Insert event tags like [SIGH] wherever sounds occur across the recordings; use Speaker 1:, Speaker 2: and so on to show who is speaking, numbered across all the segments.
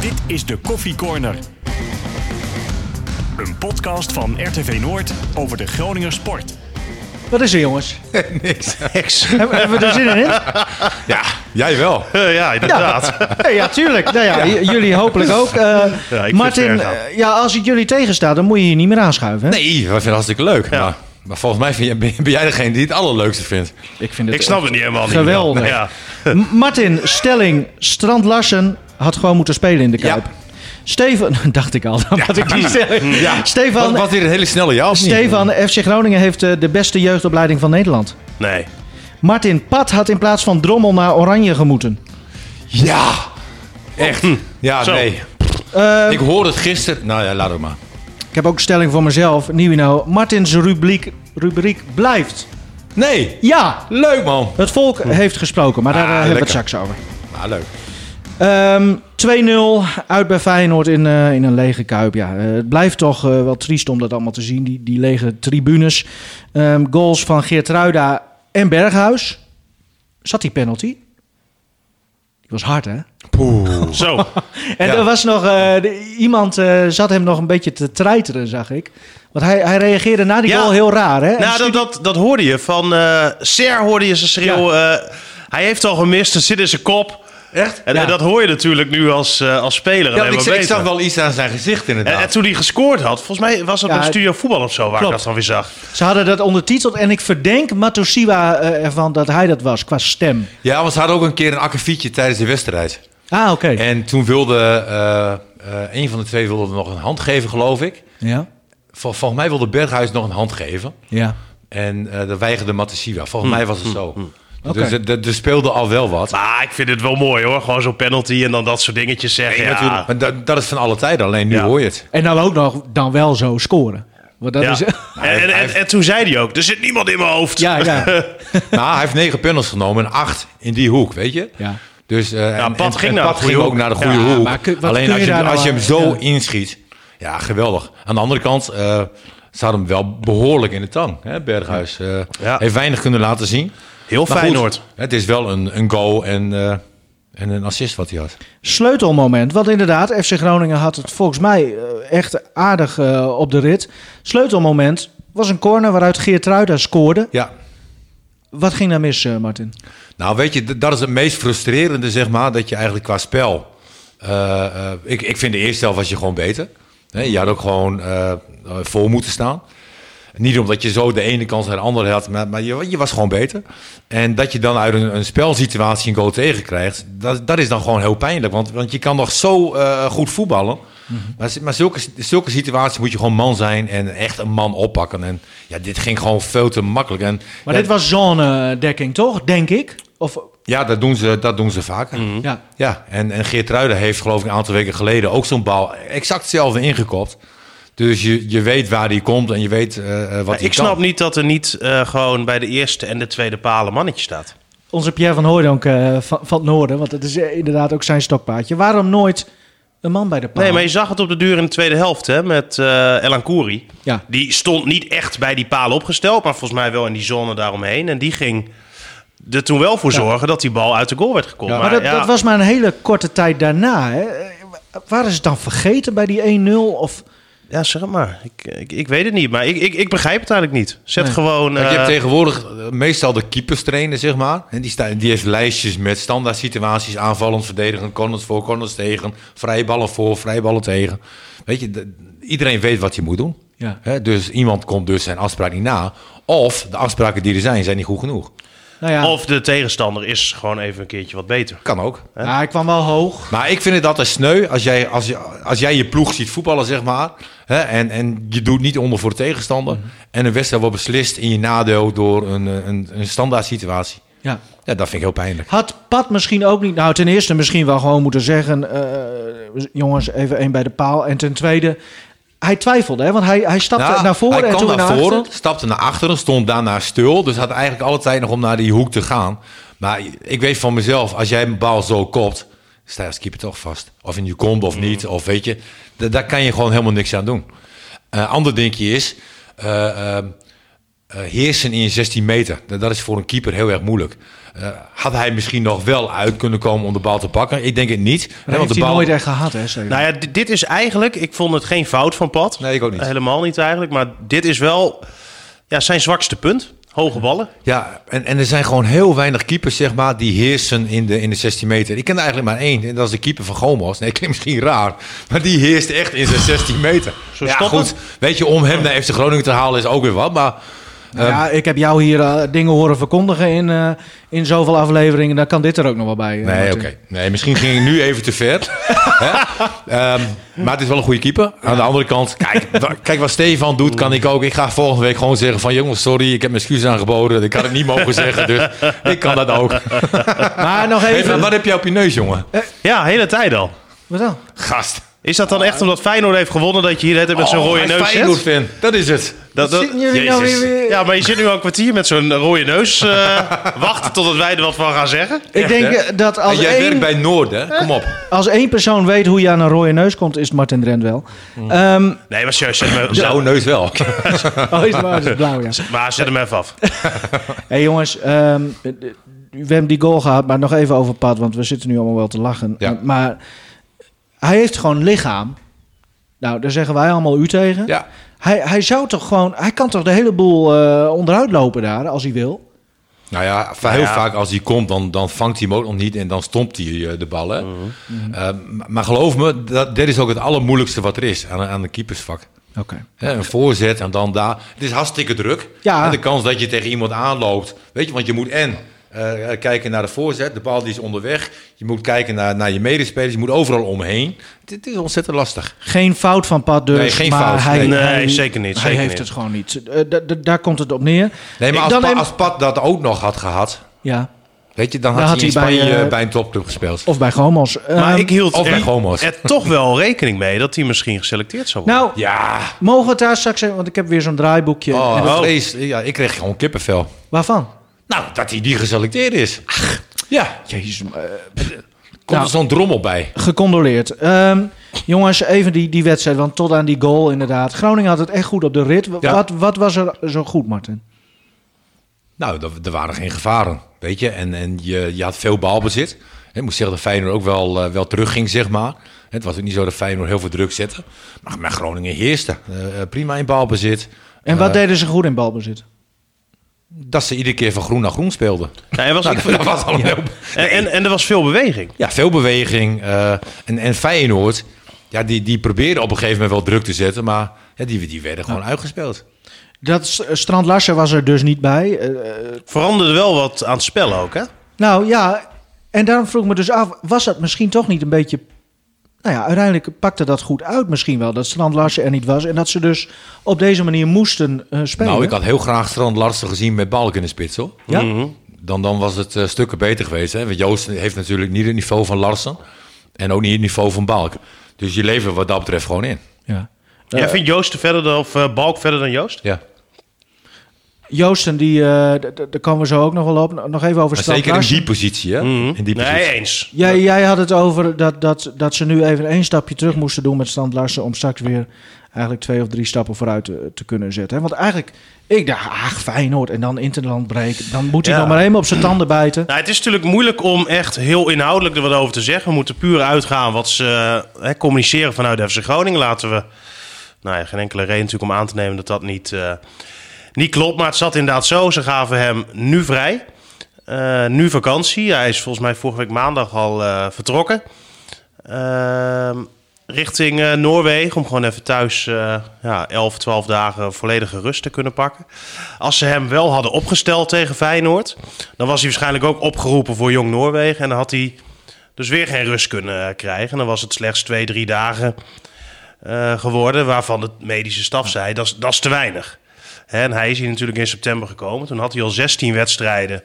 Speaker 1: Dit is de Koffie Corner. Een podcast van RTV Noord over de Groninger sport.
Speaker 2: Wat is er, [LAUGHS] jongens?
Speaker 3: Niks.
Speaker 2: hebben, hebben we er zin in?
Speaker 3: Ja, jij wel.
Speaker 4: Eh, ja, inderdaad.
Speaker 2: Nee, ja, tuurlijk. Nou ja, j- jullie hopelijk ook. Eh,
Speaker 4: Ja, ik
Speaker 2: Martin,
Speaker 4: vind het erg.
Speaker 2: eh, ja, als het jullie tegenstaat, dan moet je je niet meer aanschuiven. Hè?
Speaker 3: Nee, we vinden het hartstikke leuk. Maar, maar volgens mij vind jij- ben, ben jij degene die het allerleukste vindt.
Speaker 2: ik vind
Speaker 4: Ik snap het niet helemaal niet.
Speaker 2: Geweldig.
Speaker 4: Ja.
Speaker 2: M- Martin, stelling, Strand Larsen had gewoon moeten spelen in de
Speaker 3: Ja.
Speaker 2: Kuip. Stefan, dacht ik al, [LAUGHS] dat ik [LAUGHS] die stelling. Stefan,
Speaker 3: Wat, wat weer een hele snelle ja of niet?
Speaker 2: Stefan, FC Groningen heeft eh, de beste jeugdopleiding van Nederland.
Speaker 4: Nee.
Speaker 2: Martin Pat had in plaats van Drommel naar Oranje gemoeten.
Speaker 3: Ja. Echt. Ja,
Speaker 4: Zo.
Speaker 3: nee.
Speaker 2: Eh,
Speaker 3: Ik hoorde het gisteren. Nou ja, laat ook maar.
Speaker 2: ik heb ook een stelling voor mezelf. Nieuw nou. Martins rubriek, rubriek blijft.
Speaker 3: Nee.
Speaker 2: Ja,
Speaker 3: Leuk, man.
Speaker 2: het volk heeft gesproken, maar daar eh,
Speaker 3: Hm. Ah,
Speaker 2: hebben we het
Speaker 3: lekker.
Speaker 2: straks over.
Speaker 3: Nou, leuk.
Speaker 2: Ehm, 2-0 uit bij Feyenoord in, eh, in een lege kuip. Ja, eh, het blijft toch eh, wel triest om dat allemaal te zien, die, die lege tribunes. Ehm, goals van Geert Ruida en Berghuis. Zat die penalty? Die was hard, hè?
Speaker 4: Zo.
Speaker 2: En
Speaker 3: Ja.
Speaker 2: er was nog eh, de- iemand, eh, zat hem nog een beetje te treiteren, zag ik. Want hij, hij reageerde na die
Speaker 4: Ja.
Speaker 2: goal heel raar, [LAUGHS] hè? En
Speaker 4: Nou, dat, dat, dat hoorde je van eh Ser hoorde je ze schreeuwen. eh, hij heeft al gemist, er zit in zijn kop.
Speaker 3: Echt?
Speaker 4: En,
Speaker 2: Ja.
Speaker 4: en dat hoor je natuurlijk nu als, eh, als speler.
Speaker 3: Ja,
Speaker 4: alleen
Speaker 3: ik,
Speaker 4: maar
Speaker 3: ik, ik
Speaker 4: beter.
Speaker 3: zag wel iets aan zijn gezicht,
Speaker 4: en, en
Speaker 3: inderdaad.
Speaker 4: toen hij gescoord had, volgens mij was dat
Speaker 2: Ja,
Speaker 4: bij Studio Voetbal of zo, waar
Speaker 2: klopt.
Speaker 4: ik dat dan weer zag.
Speaker 2: Ze hadden dat ondertiteld en ik verdenk Matosiwa eh, ervan dat hij dat was, qua stem.
Speaker 3: Ja, want ze hadden ook een keer een akkefietje tijdens de wedstrijd.
Speaker 2: Ah, oké.
Speaker 3: En toen wilde eh, eh, een van de twee wilde nog een hand geven, geloof ik.
Speaker 2: Ja,
Speaker 3: Vol, volgens mij wilde Berghuis nog een hand geven.
Speaker 2: ja.
Speaker 3: En eh dat weigerde Matasiva. Volgens mij was het zo. Dus
Speaker 2: Oké.
Speaker 3: er- er- er speelde al wel wat.
Speaker 4: Hmm. Maar ik vind het wel mooi hoor. Gewoon zo'n penalty en dan dat soort dingetjes zeggen.
Speaker 3: Nee,
Speaker 4: ja,
Speaker 3: natuurlijk. Maar dat, dat is van alle tijden. Alleen nu
Speaker 4: Ja.
Speaker 3: hoor je het.
Speaker 2: En dan ook nog dan wel zo scoren. Want dat
Speaker 4: Ja. [LAUGHS]
Speaker 2: is...
Speaker 4: En, en, en, en toen zei hij ook, er zit niemand in mijn hoofd.
Speaker 2: Ja, ja.
Speaker 3: Nou, hij heeft negen panels genomen en acht in die hoek, weet je?
Speaker 2: Ja.
Speaker 3: Dus eh en-
Speaker 4: Pat
Speaker 3: en-
Speaker 4: ging
Speaker 3: en
Speaker 4: naar de
Speaker 3: Pat
Speaker 4: goede
Speaker 3: ging ook
Speaker 4: hoek.
Speaker 3: naar de goede
Speaker 2: Ja,
Speaker 3: hoek.
Speaker 2: maar kun- wat
Speaker 3: Alleen
Speaker 2: kun
Speaker 3: als
Speaker 2: je
Speaker 3: je,
Speaker 2: daar nou
Speaker 3: als je
Speaker 2: aan-
Speaker 3: hem zo
Speaker 2: ja.
Speaker 3: inschiet, ja, geweldig. Aan de andere kant, eh ze hadden hem wel behoorlijk in de tang, hè, Berghuis. Eh,
Speaker 4: Ja.
Speaker 3: Heeft weinig kunnen laten zien.
Speaker 4: Heel
Speaker 3: Maar goed,
Speaker 4: Feyenoord.
Speaker 3: Het is wel een, een goal en, eh, en een assist wat hij had.
Speaker 2: Sleutelmoment. Want inderdaad, FC Groningen had het volgens mij eh, echt aardig eh, op de rit. Sleutelmoment was een corner waaruit Geert Ruida scoorde.
Speaker 3: Ja,
Speaker 2: Wat ging daar mis, eh, Martin?
Speaker 3: Nou, weet je, d- dat is het meest frustrerende, zeg maar, dat je eigenlijk qua spel... eh, eh, ik, ik vind de eerste helft was je gewoon beter. Hè, je had ook gewoon eh, eh, voor moeten staan. Niet omdat je zo de ene kans naar de andere had, maar, maar je, je was gewoon beter. En dat je dan uit een, een spelsituatie een goal tegenkrijgt, dat, dat is dan gewoon heel pijnlijk. Want, want je kan nog zo eh, goed voetballen.
Speaker 2: Mhm.
Speaker 3: Maar, z- maar zulke, zulke situaties moet je gewoon man zijn en echt een man oppakken. En ja, dit ging gewoon veel te makkelijk. En,
Speaker 2: Maar
Speaker 3: ja,
Speaker 2: dit was zone-dekking, toch? Denk ik? Of,
Speaker 3: ja, dat doen ze, dat doen ze vaker.
Speaker 2: ja.
Speaker 3: Ja, en, en Geert Ruiden heeft geloof ik een aantal weken geleden ook zo'n bal exact hetzelfde ingekopt. Dus je, je weet waar die komt en je weet eh, eh, wat
Speaker 4: Maar
Speaker 3: hij
Speaker 4: ik
Speaker 3: kan.
Speaker 4: snap niet dat er niet eh, gewoon bij de eerste en de tweede palen mannetje staat.
Speaker 2: Onze Pierre van Hooydonk eh, van, van het Noorden. Want dat is eh, inderdaad ook zijn stokpaardje. Waarom nooit een man bij de paal?
Speaker 4: Nee, maar je zag het op de duur in de tweede helft hè, met eh Elan Kouri.
Speaker 2: Ja.
Speaker 4: Die stond niet echt bij die palen opgesteld, maar volgens mij wel in die zone daaromheen. En die ging er toen wel voor
Speaker 2: Ja.
Speaker 4: zorgen dat die bal uit de goal werd gekomen.
Speaker 2: Maar dat,
Speaker 4: ja,
Speaker 2: dat was maar een hele korte tijd daarna. Hè. Eh, Waar is het dan vergeten bij die 1-0? Of...
Speaker 4: ja, zeg het maar. Ik, ik, ik weet het niet, maar ik, ik, ik begrijp het eigenlijk niet. Zet
Speaker 2: Nee.
Speaker 4: gewoon...
Speaker 3: Kijk, je
Speaker 4: eh,
Speaker 3: hebt tegenwoordig eh, meestal de keepers trainen, zeg maar. En die, sta, die heeft lijstjes met standaard situaties. Aanvallend, verdedigend, corners voor, corners tegen. Vrijballen voor, vrijballen tegen. Weet je, de- iedereen weet wat hij moet doen.
Speaker 2: Ja.
Speaker 3: Hè, dus iemand komt dus zijn afspraak niet na. Of de afspraken die er zijn, zijn niet goed genoeg.
Speaker 2: Nou ja,
Speaker 4: Of de tegenstander is gewoon even een keertje wat beter.
Speaker 3: Kan ook.
Speaker 2: ja, hij kwam wel hoog.
Speaker 3: Maar ik vind het altijd sneu als jij, als, je, als jij je ploeg ziet voetballen, zeg maar. Hè, en, en je doet niet onder voor de tegenstander. En een wedstrijd wordt beslist in je nadeel door een, eh, een, een standaard situatie.
Speaker 2: Ja.
Speaker 3: Ja, dat vind ik heel pijnlijk.
Speaker 2: Had Pat misschien ook niet... Nou, ten eerste misschien wel gewoon moeten zeggen... eh, jongens, even één bij de paal. En ten tweede, hij twijfelde. Hè? Want hij, hij stapte
Speaker 3: Nou,
Speaker 2: naar voren
Speaker 3: hij
Speaker 2: en
Speaker 3: kwam
Speaker 2: toen
Speaker 3: naar,
Speaker 2: naar,
Speaker 3: voren,
Speaker 2: achteren.
Speaker 3: stapte naar achteren, stond daarna stil. Dus had eigenlijk alle tijd nog om naar die hoek te gaan. Maar ik weet van mezelf, als jij een bal zo kopt, sta je als keeper toch vast. Of in je kont of niet, of weet je. da- daar kan je gewoon helemaal niks aan doen. Eh ander dingetje is, eh, eh, eh, heersen in je 16 meter. Dat, dat is voor een keeper heel erg moeilijk. Eh, had hij misschien nog wel uit kunnen komen om de bal te pakken? Ik denk het niet. hè,
Speaker 2: Dat heeft
Speaker 3: de
Speaker 2: hij
Speaker 3: bal...
Speaker 2: nooit echt gehad, hè? Zeven.
Speaker 4: Nou ja, dit, dit is eigenlijk... Ik vond het geen fout van Pat.
Speaker 3: Nee, ik ook niet.
Speaker 4: Helemaal niet eigenlijk. Maar dit is wel ja, zijn zwakste punt. Hoge ballen.
Speaker 3: Ja, en, en er zijn gewoon heel weinig keepers, zeg maar, die heersen in de, in de 16 meter. Ik ken er eigenlijk maar één, en dat is de keeper van Gomos. Nee, klinkt misschien raar, maar die heerst echt in zijn 16 meter.
Speaker 4: Zo
Speaker 3: ja,
Speaker 4: stoppen?
Speaker 3: goed, weet je, om hem naar FC Groningen te halen is ook weer wat, maar... Ehm,
Speaker 2: Nou ja, ik heb jou hier eh, dingen horen verkondigen in, eh, in zoveel afleveringen. Dan kan dit er ook nog wel bij. eh,
Speaker 3: Nee,
Speaker 2: Martin.
Speaker 3: oké. Nee, misschien ging ik nu even te ver. [LAUGHS] Hè? Ehm, maar het is wel een goede keeper. Aan de andere kant, kijk, wa- kijk wat Stefan doet, kan ik ook. Ik ga volgende week gewoon zeggen van... jongens, sorry, ik heb mijn excuses aangeboden. Ik had het niet mogen zeggen, dus ik kan dat ook.
Speaker 2: Maar nog
Speaker 3: Hey, maar
Speaker 2: even.
Speaker 3: wat heb jij op je neus, jongen?
Speaker 4: Ja, hele tijd al.
Speaker 2: Wat dan?
Speaker 3: Gast.
Speaker 4: Is dat dan echt omdat Feyenoord heeft gewonnen dat je hier de hele tijd met
Speaker 3: Oh,
Speaker 4: zo'n rode neus zit?
Speaker 3: fan. Dat is het.
Speaker 4: Dat, dat-
Speaker 2: Zitten jullie nou
Speaker 4: Jezus.
Speaker 2: weer- weer-
Speaker 4: Ja, maar je zit nu al een kwartier met zo'n rode
Speaker 2: [LAUGHS]
Speaker 4: neus. eh, wachten totdat wij er wat van gaan zeggen.
Speaker 2: Ik denk eh, dat als
Speaker 3: jij
Speaker 2: één,
Speaker 3: werkt bij Noord, hè? Kom op.
Speaker 2: als één persoon weet hoe je aan een rode neus komt, is het Martin Drent wel.
Speaker 3: Mm. [LAUGHS]
Speaker 2: Ehm,
Speaker 4: Nee, maar serieus, zet hem,
Speaker 3: Blauwe neus [LAUGHS] wel.
Speaker 2: oh, is het waar, het is blauw, ja.
Speaker 4: maar zet hem even af.
Speaker 3: Ehm,
Speaker 2: hey, jongens, ehm, we hebben die goal gehad, maar nog even over Pat, want we zitten nu allemaal wel te lachen. Eh,
Speaker 3: Ja.
Speaker 2: Maar hij heeft gewoon lichaam. Nou, daar zeggen wij allemaal u tegen.
Speaker 3: Ja.
Speaker 2: Hij, hij zou toch gewoon, hij kan toch de hele boel eh, onderuit lopen daar als hij wil.
Speaker 3: Nou ja, va- heel
Speaker 4: Ja.
Speaker 3: vaak als hij komt, dan, dan vangt hij hem ook nog niet en dan stompt hij eh, de ballen.
Speaker 4: Mhm.
Speaker 3: maar geloof me, dat, dit is ook het allermoeilijkste wat er is aan, aan de keepersvak.
Speaker 2: Oké.
Speaker 3: Hè, een voorzet en dan daar. Het is hartstikke druk.
Speaker 2: Ja.
Speaker 3: En de kans dat je tegen iemand aanloopt. Weet je, want je moet en eh, kijken naar de voorzet. De bal die is onderweg. Je moet kijken naar, naar je medespelers. Je moet overal omheen. Het, het is ontzettend lastig.
Speaker 2: Geen fout van Pat dus,
Speaker 3: Nee, geen
Speaker 2: maar
Speaker 3: fout.
Speaker 2: Hij,
Speaker 4: Nee,
Speaker 2: hij-
Speaker 4: zeker niet,
Speaker 2: Hij
Speaker 4: zeker
Speaker 2: heeft
Speaker 4: niet.
Speaker 2: het gewoon niet. Eh, da- da- daar komt het op neer.
Speaker 3: Nee, maar
Speaker 2: Ik-
Speaker 3: als,
Speaker 2: dan
Speaker 3: Pa-
Speaker 2: neem-
Speaker 3: als Pat dat ook nog had gehad,
Speaker 2: Ja,
Speaker 3: weet je, dan had
Speaker 2: Dan
Speaker 3: hij
Speaker 2: had
Speaker 3: in
Speaker 2: hij bij,
Speaker 3: Spanje bij,
Speaker 2: eh,
Speaker 3: een topclub gespeeld.
Speaker 2: of bij Gomos.
Speaker 4: Maar
Speaker 2: Ehm,
Speaker 4: ik hield
Speaker 3: of bij
Speaker 4: er,
Speaker 3: homo's.
Speaker 4: er toch wel rekening mee dat hij misschien geselecteerd zou worden.
Speaker 2: Nou,
Speaker 3: Ja,
Speaker 2: mogen we het daar straks even... Want ik heb weer zo'n draaiboekje. En
Speaker 3: oh,
Speaker 2: dat-
Speaker 3: vlees. ja, ik kreeg gewoon kippenvel.
Speaker 2: Waarvan?
Speaker 3: Nou, dat hij die geselecteerd is. ja,
Speaker 2: Jezus, eh,
Speaker 3: komt
Speaker 2: Nou.
Speaker 3: er zo'n drommel bij.
Speaker 2: gecondoleerd. Ehm, jongens, even die, die wedstrijd. Want tot aan die goal inderdaad. Groningen had het echt goed op de rit. W-
Speaker 3: Ja.
Speaker 2: Wat, wat was er zo goed, Martin?
Speaker 3: Nou, er- er waren geen gevaren, weet je. En, en je, je had veel balbezit. Ik moet zeggen dat Feyenoord ook wel, eh, wel terugging, zeg maar. Het was ook niet zo dat Feyenoord heel veel druk zette. Maar, maar Groningen heerste. Eh, eh, prima in balbezit.
Speaker 2: En wat
Speaker 3: Eh,
Speaker 2: deden ze goed in balbezit?
Speaker 3: Dat ze iedere keer van groen naar groen speelden.
Speaker 4: Ja, er was,
Speaker 3: Nou,
Speaker 4: ik-
Speaker 3: dat was al een heel...
Speaker 4: en, en, en er was veel beweging.
Speaker 3: Ja, veel beweging. eh, en, en Feyenoord, ja, die, die probeerden op een gegeven moment wel druk te zetten. Maar ja, die, die werden gewoon uitgespeeld.
Speaker 2: Dat s- eh, Strand Larsen was er dus niet bij. Eh,
Speaker 4: Veranderde wel wat aan het spel ook,
Speaker 3: Eh.
Speaker 4: hè?
Speaker 2: Nou ja, en daarom vroeg ik me dus af, was dat misschien toch niet een beetje... Nou ja, uiteindelijk pakte dat goed uit misschien wel, dat Strand Larsen er niet was. En dat ze dus op deze manier moesten eh, spelen.
Speaker 3: Nou, ik had Mhm. heel graag Strand Larsen gezien met Balk in de spits, hoor.
Speaker 2: Ja?
Speaker 3: Dan, dan was het eh, stukken beter geweest. Hè? Want Joost heeft natuurlijk niet het niveau van Larsen. En ook niet het niveau van Balk. Dus je levert wat dat betreft gewoon in.
Speaker 2: ja.
Speaker 4: Jij vindt Joost verder dan, of eh, Balk verder dan Joost?
Speaker 3: Ja.
Speaker 2: Joosten, die, eh, d- d- daar komen we zo ook nog wel op. Nog even over
Speaker 3: Maar
Speaker 2: Strand
Speaker 3: zeker in
Speaker 2: Larsen. Mhm.
Speaker 3: die positie, hè? In die positie.
Speaker 4: Nee, eens.
Speaker 2: Jij, jij had het over dat, dat, dat ze nu even één stapje terug moesten doen met Strand Larsen... om straks weer eigenlijk twee of drie stappen vooruit eh, te, te kunnen zetten. hè? Want eigenlijk, ik dacht, ach, Feyenoord en dan Interland breken. Dan moet hij
Speaker 4: Ja.
Speaker 2: nog maar helemaal op zijn tanden bijten.
Speaker 4: Nou, het is natuurlijk moeilijk om echt heel inhoudelijk er wat over te zeggen. We moeten puur uitgaan wat ze eh, hè, communiceren vanuit FC Groningen. Laten we nou ja, geen enkele reden natuurlijk om aan te nemen dat dat niet, eh, niet klopt. Maar het zat inderdaad zo. Ze gaven hem nu vrij. Eh, nu vakantie. Hij is volgens mij vorige week maandag al eh, vertrokken. Ehm, richting eh, Noorwegen. Om gewoon even thuis eh ja, 11, 12 dagen volledige rust te kunnen pakken. Als ze hem wel hadden opgesteld tegen Feyenoord. dan was hij waarschijnlijk ook opgeroepen voor Jong Noorwegen. En dan had hij dus weer geen rust kunnen eh, krijgen. En dan was het slechts twee, drie dagen eh, geworden. waarvan de medische staf zei: dat is- dat is te weinig. Hè, En hij is hier natuurlijk in september gekomen. Toen had hij al 16 wedstrijden.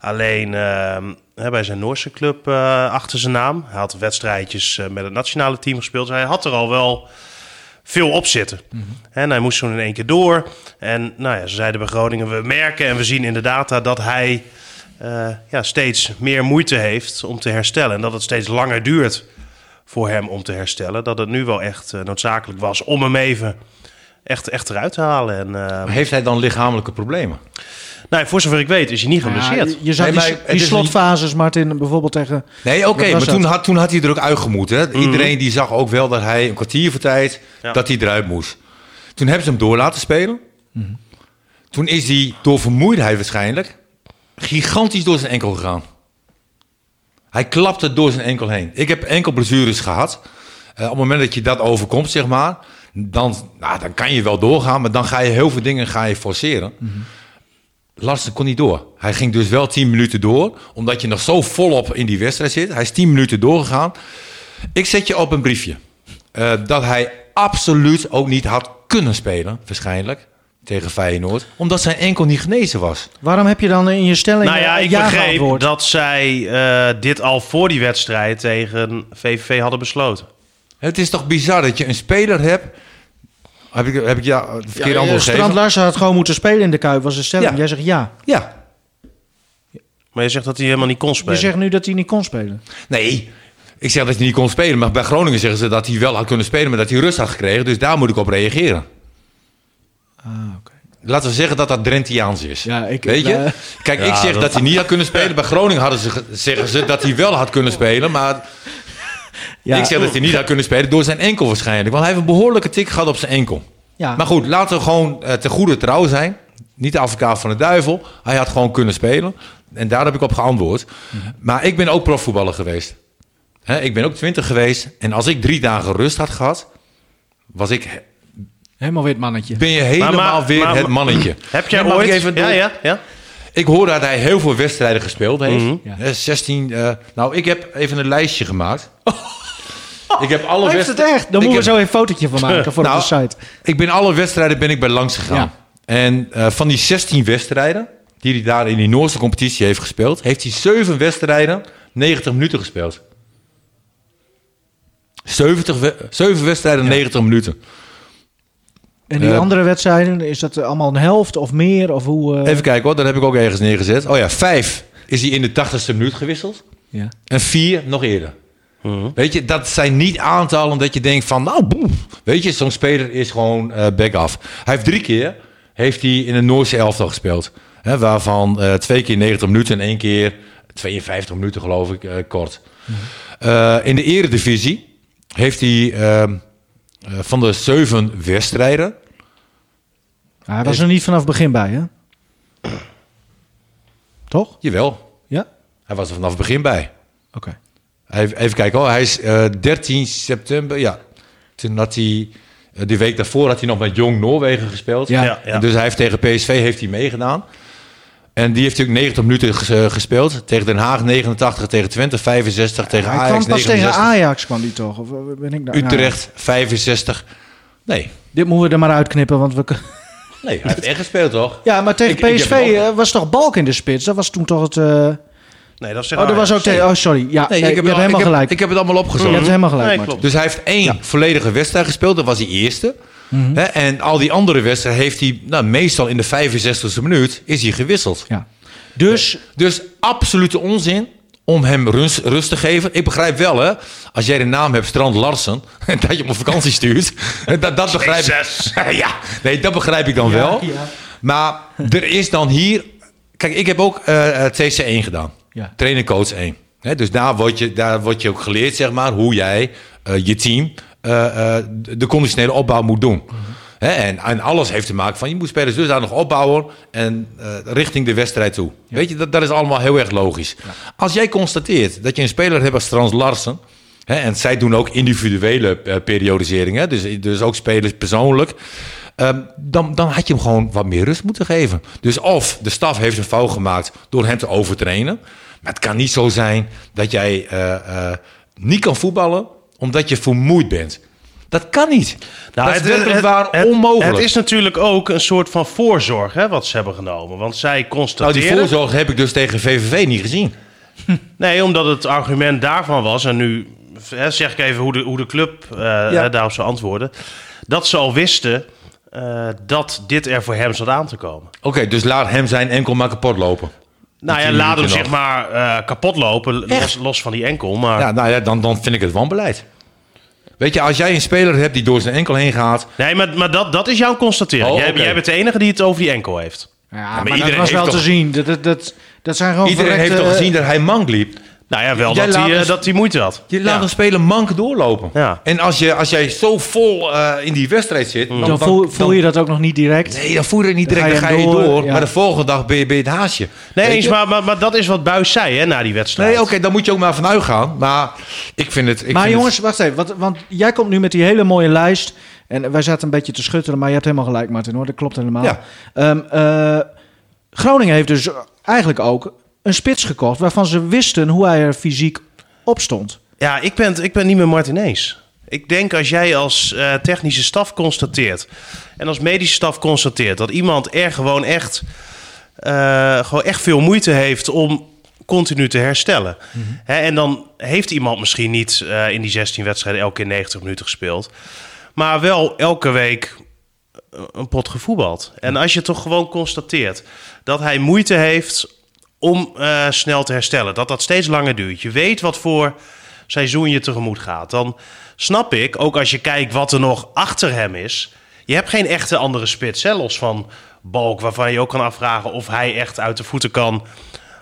Speaker 4: Alleen ehm, hè, bij zijn Noorse club eh, achter zijn naam. Hij had wedstrijdjes eh, met het nationale team gespeeld. Dus hij had er al wel veel op zitten. En hij moest toen in één keer door. En nou ja, ze zeiden bij Groningen, we merken en we zien in de data dat hij eh, ja, steeds meer moeite heeft om te herstellen. En dat het steeds langer duurt voor hem om te herstellen. Dat het nu wel echt eh, noodzakelijk was om hem even echt, echt eruit te halen. En, eh,
Speaker 3: Heeft hij dan lichamelijke problemen?
Speaker 4: nou, voor zover ik weet is hij niet
Speaker 3: Nou
Speaker 2: Ja, je,
Speaker 4: geblesseerd.
Speaker 2: je zag
Speaker 3: Nee,
Speaker 2: die,
Speaker 3: maar
Speaker 2: die
Speaker 3: het is niet-
Speaker 2: slotfases, Martin, bijvoorbeeld tegen...
Speaker 3: Nee, oké,
Speaker 2: Wat was
Speaker 3: maar
Speaker 2: dat? Mhm.
Speaker 3: toen had, toen had hij er ook uitgemoet. Hè? Iedereen die zag ook wel dat hij een kwartier voor tijd
Speaker 4: Ja.
Speaker 3: dat hij eruit moest. Toen hebben ze hem door laten spelen.
Speaker 2: Mhm.
Speaker 3: Toen is hij door vermoeidheid waarschijnlijk gigantisch door zijn enkel gegaan. Hij klapte door zijn enkel heen. Ik heb enkel blessures gehad. Eh, op het moment dat je dat overkomt, zeg maar, dan, nou, dan kan je wel doorgaan, maar dan ga je heel veel dingen ga je forceren. Larsen kon niet door. Hij ging dus wel 10 minuten door, omdat je nog zo volop in die wedstrijd zit. Hij is 10 minuten doorgegaan. Ik zet je op een briefje eh, dat hij absoluut ook niet had kunnen spelen, waarschijnlijk, tegen Feyenoord, omdat zijn enkel niet genezen was.
Speaker 2: Waarom heb je dan in je stelling
Speaker 4: Nou ja,
Speaker 2: eh,
Speaker 4: ik
Speaker 2: geantwoord?
Speaker 4: begreep dat zij eh, dit al voor die wedstrijd tegen VVV hadden besloten.
Speaker 3: Het is toch bizar dat je een speler hebt. Heb ik, heb ik ja, het verkeerde
Speaker 2: Eh,
Speaker 3: antwoord gegeven?
Speaker 2: Strand Larsen had gewoon moeten spelen in de Kuip, was de stelling.
Speaker 3: Ja.
Speaker 2: Jij zegt ja.
Speaker 3: Ja,
Speaker 4: Maar je zegt dat hij helemaal niet kon spelen.
Speaker 2: Je zegt nu dat hij niet kon spelen.
Speaker 3: Nee, ik zeg dat hij niet kon spelen. Maar bij Groningen zeggen ze dat hij wel had kunnen spelen, maar dat hij rust had gekregen. Dus daar moet ik op reageren. Laten we zeggen dat dat Drentiaans is.
Speaker 2: Ah, [LAUGHS] Ja, ik-
Speaker 3: Weet je?
Speaker 2: eh,
Speaker 3: Kijk,
Speaker 4: Ja,
Speaker 3: ik zeg
Speaker 4: dat-
Speaker 3: dat... hij niet had kunnen spelen. Bij Groningen hadden ze, ge- zeggen ze dat hij wel had kunnen spelen. Maar
Speaker 2: Ja,
Speaker 3: ik zeg dat hij niet had kunnen spelen door zijn enkel waarschijnlijk. Want hij heeft een behoorlijke tik gehad op zijn enkel.
Speaker 2: ja.
Speaker 3: Maar goed, laten we gewoon eh, ten goede trouw zijn. Niet de advocaat van de duivel. Hij had gewoon kunnen spelen. En daar heb ik op geantwoord.
Speaker 2: Mhm.
Speaker 3: Maar ik ben ook profvoetballer geweest. Hè, ik ben ook twintig geweest. En als ik drie dagen rust had gehad, was ik,
Speaker 2: helemaal weer het mannetje.
Speaker 3: ben je
Speaker 4: Maar-
Speaker 3: helemaal
Speaker 4: maar-
Speaker 3: weer
Speaker 4: maar-
Speaker 3: het mannetje.
Speaker 4: Heb jij
Speaker 3: Nee, mag ik
Speaker 4: ooit...
Speaker 3: even
Speaker 4: ja,
Speaker 3: door-
Speaker 4: ja, ja.
Speaker 3: ik hoor dat hij heel veel wedstrijden gespeeld heeft.
Speaker 4: Mhm.
Speaker 2: Ja.
Speaker 3: Eh, 16. eh, nou, ik heb even een lijstje
Speaker 2: [LAUGHS]
Speaker 3: gemaakt. ik heb alle
Speaker 2: Heeft het echt? Dan moeten
Speaker 3: ik
Speaker 2: we
Speaker 3: heb-
Speaker 2: zo een fotootje van maken voor
Speaker 3: Nou,
Speaker 2: op de site.
Speaker 3: Ik ben alle wedstrijden ben ik bij langs gegaan.
Speaker 2: Ja.
Speaker 3: En eh, van die 16 wedstrijden die hij daar in die Noorse competitie heeft gespeeld, heeft hij 7 wedstrijden 90 minuten gespeeld. 70 we- 7 wedstrijden 90 minuten.
Speaker 2: En die
Speaker 3: eh,
Speaker 2: andere wedstrijden, is dat allemaal een helft of meer? Of hoe, eh,
Speaker 3: Even kijken hoor, dat heb ik ook ergens neergezet. Oh ja, 5 is hij in de 80ste minuut gewisseld.
Speaker 2: ja.
Speaker 3: En 4 nog eerder. Weet je, dat zijn niet aantallen dat je denkt van, nou, boem. weet je, zo'n speler is gewoon eh back af. Hij heeft drie keer heeft hij in een Noorse elftal gespeeld. Hè, waarvan eh, twee keer 90 minuten en één keer 52 minuten, geloof ik, eh, kort. Eh, in de eredivisie heeft hij ehm, eh, van de zeven wedstrijden...
Speaker 2: Hij was Ah, er niet vanaf het begin bij, hè? Toch?
Speaker 3: Jawel,
Speaker 2: Ja?
Speaker 3: hij was er vanaf het begin bij.
Speaker 2: Oké.
Speaker 3: Hij- Even kijken, oh, hij is eh, 13 september. Ja, toen had hij. eh, De week daarvoor had hij nog met Jong Noorwegen gespeeld.
Speaker 2: Ja.
Speaker 4: Ja, ja.
Speaker 3: En dus hij heeft tegen PSV heeft hij meegedaan. En die heeft natuurlijk 90 minuten ges- eh, gespeeld. Tegen Den Haag 89, tegen Twente 65, tegen
Speaker 2: Hij
Speaker 3: Ajax
Speaker 2: kwam pas
Speaker 3: 69.
Speaker 2: tegen Ajax, kwam die toch? Of eh, ben ik nou,
Speaker 3: Utrecht 65. Nee,
Speaker 2: nou, dit moeten we er maar uitknippen, want we... kun-
Speaker 3: nee, hij heeft echt gespeeld toch?
Speaker 2: [LAUGHS] Ja, maar tegen
Speaker 3: Ik- ik heb
Speaker 2: PSV
Speaker 3: hem ook-
Speaker 2: eh, was toch Balk in de spits? Dat was toen toch het... eh,
Speaker 4: Nee, dat zegt
Speaker 2: Oh, dat
Speaker 4: Ajax.
Speaker 2: was ook tegen... Oh, sorry. Ja, nee, je
Speaker 3: heb
Speaker 2: hebt
Speaker 3: al-
Speaker 2: helemaal
Speaker 3: ik heb-
Speaker 2: gelijk.
Speaker 3: ik heb het allemaal
Speaker 2: Je
Speaker 3: opgezocht.
Speaker 2: hebt helemaal gelijk,
Speaker 4: Nee,
Speaker 2: Martin.
Speaker 4: klopt.
Speaker 3: Dus hij heeft één volledige wedstrijd gespeeld. Dat was die eerste. Hè, en al die andere wedstrijden heeft hij... Nou, meestal in de 65e minuut is hij gewisseld.
Speaker 2: Ja. Dus,
Speaker 3: Dus absolute onzin om hem rust, rust te geven. Ik begrijp wel, hè. Als jij de naam hebt Strand Larsen... [LAUGHS] en dat je hem op vakantie stuurt... [LAUGHS] dat, dat begrijp ik...
Speaker 4: Jezus.
Speaker 3: [LAUGHS] ja, nee, dat begrijp ik dan wel. Maar er is dan hier... Kijk, ik heb ook eh, eh, TC1 gedaan.
Speaker 2: Ja.
Speaker 3: Trainer coach 1. Hè, dus daar word, je, daar word je ook geleerd, zeg maar, hoe jij eh, je team eh, eh, de conditionele opbouw moet doen. Hè, en, en alles heeft te maken van je moet spelers dus daar nog opbouwen en eh, richting de wedstrijd toe. Weet je, dat, dat is allemaal heel erg logisch. Als jij constateert dat je een speler hebt als Trans Larsen. Hè, en zij doen ook individuele eh, periodisering, hè, dus, dus ook spelers persoonlijk. Ehm, dan, dan had je hem gewoon wat meer rust moeten geven. Dus of de staf heeft een fout gemaakt door hem te overtrainen. Maar het kan niet zo zijn dat jij eh, eh, niet kan voetballen omdat je vermoeid bent. Dat kan niet.
Speaker 4: Nou,
Speaker 3: dat is werkelijk waar onmogelijk.
Speaker 4: Het is natuurlijk ook een soort van voorzorg hè, wat ze hebben genomen. Want zij
Speaker 3: nou, die
Speaker 4: constateren...
Speaker 3: voorzorg heb ik dus tegen VVV niet gezien.
Speaker 4: Nee, omdat het argument daarvan was... en nu hè, zeg ik even hoe de, hoe de club eh, hè, daarop zou antwoorden... dat ze al wisten eh, dat dit er voor hem zat aan te komen.
Speaker 3: Oké, dus laat hem zijn enkel maar kapot lopen.
Speaker 4: Nou ja,
Speaker 3: tien
Speaker 4: laat hem
Speaker 3: minuten
Speaker 4: zeg
Speaker 3: nog.
Speaker 4: maar eh, kapot lopen, los, los van die enkel. Maar
Speaker 3: Ja, nou ja, dan, dan vind ik het wanbeleid. Weet je, als jij een speler hebt die door zijn enkel heen gaat...
Speaker 4: Nee, maar, maar dat, dat is jouw constatering.
Speaker 3: Oh,
Speaker 4: jij,
Speaker 3: oké.
Speaker 4: jij bent de enige die het over die enkel heeft.
Speaker 2: Ja,
Speaker 3: maar
Speaker 2: maar, dat
Speaker 3: iedereen
Speaker 2: was
Speaker 3: heeft
Speaker 2: wel
Speaker 3: toch-
Speaker 2: te zien. Dat, dat, dat, dat zijn gewoon
Speaker 3: Iedereen heeft
Speaker 4: eh,
Speaker 2: verrekte-
Speaker 3: toch gezien dat hij mank liep?
Speaker 4: Nou ja, wel
Speaker 3: Jij
Speaker 4: dat
Speaker 3: laat
Speaker 4: hij, eh,
Speaker 3: eens-
Speaker 4: dat hij moeite had.
Speaker 3: Je laat dus-
Speaker 4: Ja.
Speaker 3: een speler mank doorlopen.
Speaker 4: Ja.
Speaker 3: En als, je, als jij zo vol eh, in die wedstrijd zit... Dan,
Speaker 2: Dan voel, voel je dat ook nog niet direct.
Speaker 3: Nee, dan voel je het niet
Speaker 2: Dan
Speaker 3: direct, dan
Speaker 2: ga
Speaker 3: ga
Speaker 2: je
Speaker 3: je
Speaker 2: door,
Speaker 3: door.
Speaker 2: ja.
Speaker 3: Maar de volgende dag ben je, ben je het haasje.
Speaker 4: Nee,
Speaker 3: Weet
Speaker 4: eens,
Speaker 3: je?
Speaker 4: maar, maar, maar dat is wat Buis zei hè, na die wedstrijd.
Speaker 3: Nee, oké, dan moet je ook maar vanuit gaan. Maar ik vind het... Ik
Speaker 2: maar
Speaker 3: vind
Speaker 2: jongens, wacht even. Wat, want jij komt nu met die hele mooie lijst. En wij zaten een beetje te schutteren, maar je hebt helemaal gelijk, Martin. Hoor. Dat klopt helemaal.
Speaker 3: Ja.
Speaker 2: Ehm, eh, Groningen heeft dus eigenlijk ook een spits gekocht... waarvan ze wisten hoe hij er fysiek op stond.
Speaker 4: Ja, ik ben, ik ben niet meer Martinez. Ik denk als jij als eh, technische staf constateert en als medische staf constateert dat iemand er gewoon echt, eh, gewoon echt veel moeite heeft om continu te herstellen. Hè, en dan heeft iemand misschien niet eh, in die 16 wedstrijden elke keer 90 minuten gespeeld, maar wel elke week eh, een pot gevoetbald. En als je toch gewoon constateert dat hij moeite heeft om eh, snel te herstellen. Dat dat steeds langer duurt. Je weet wat voor seizoen je tegemoet gaat. Dan snap ik, ook als je kijkt wat er nog achter hem is. Je hebt geen echte andere spits. Hè, los van Balk, waarvan je ook kan afvragen of hij echt uit de voeten kan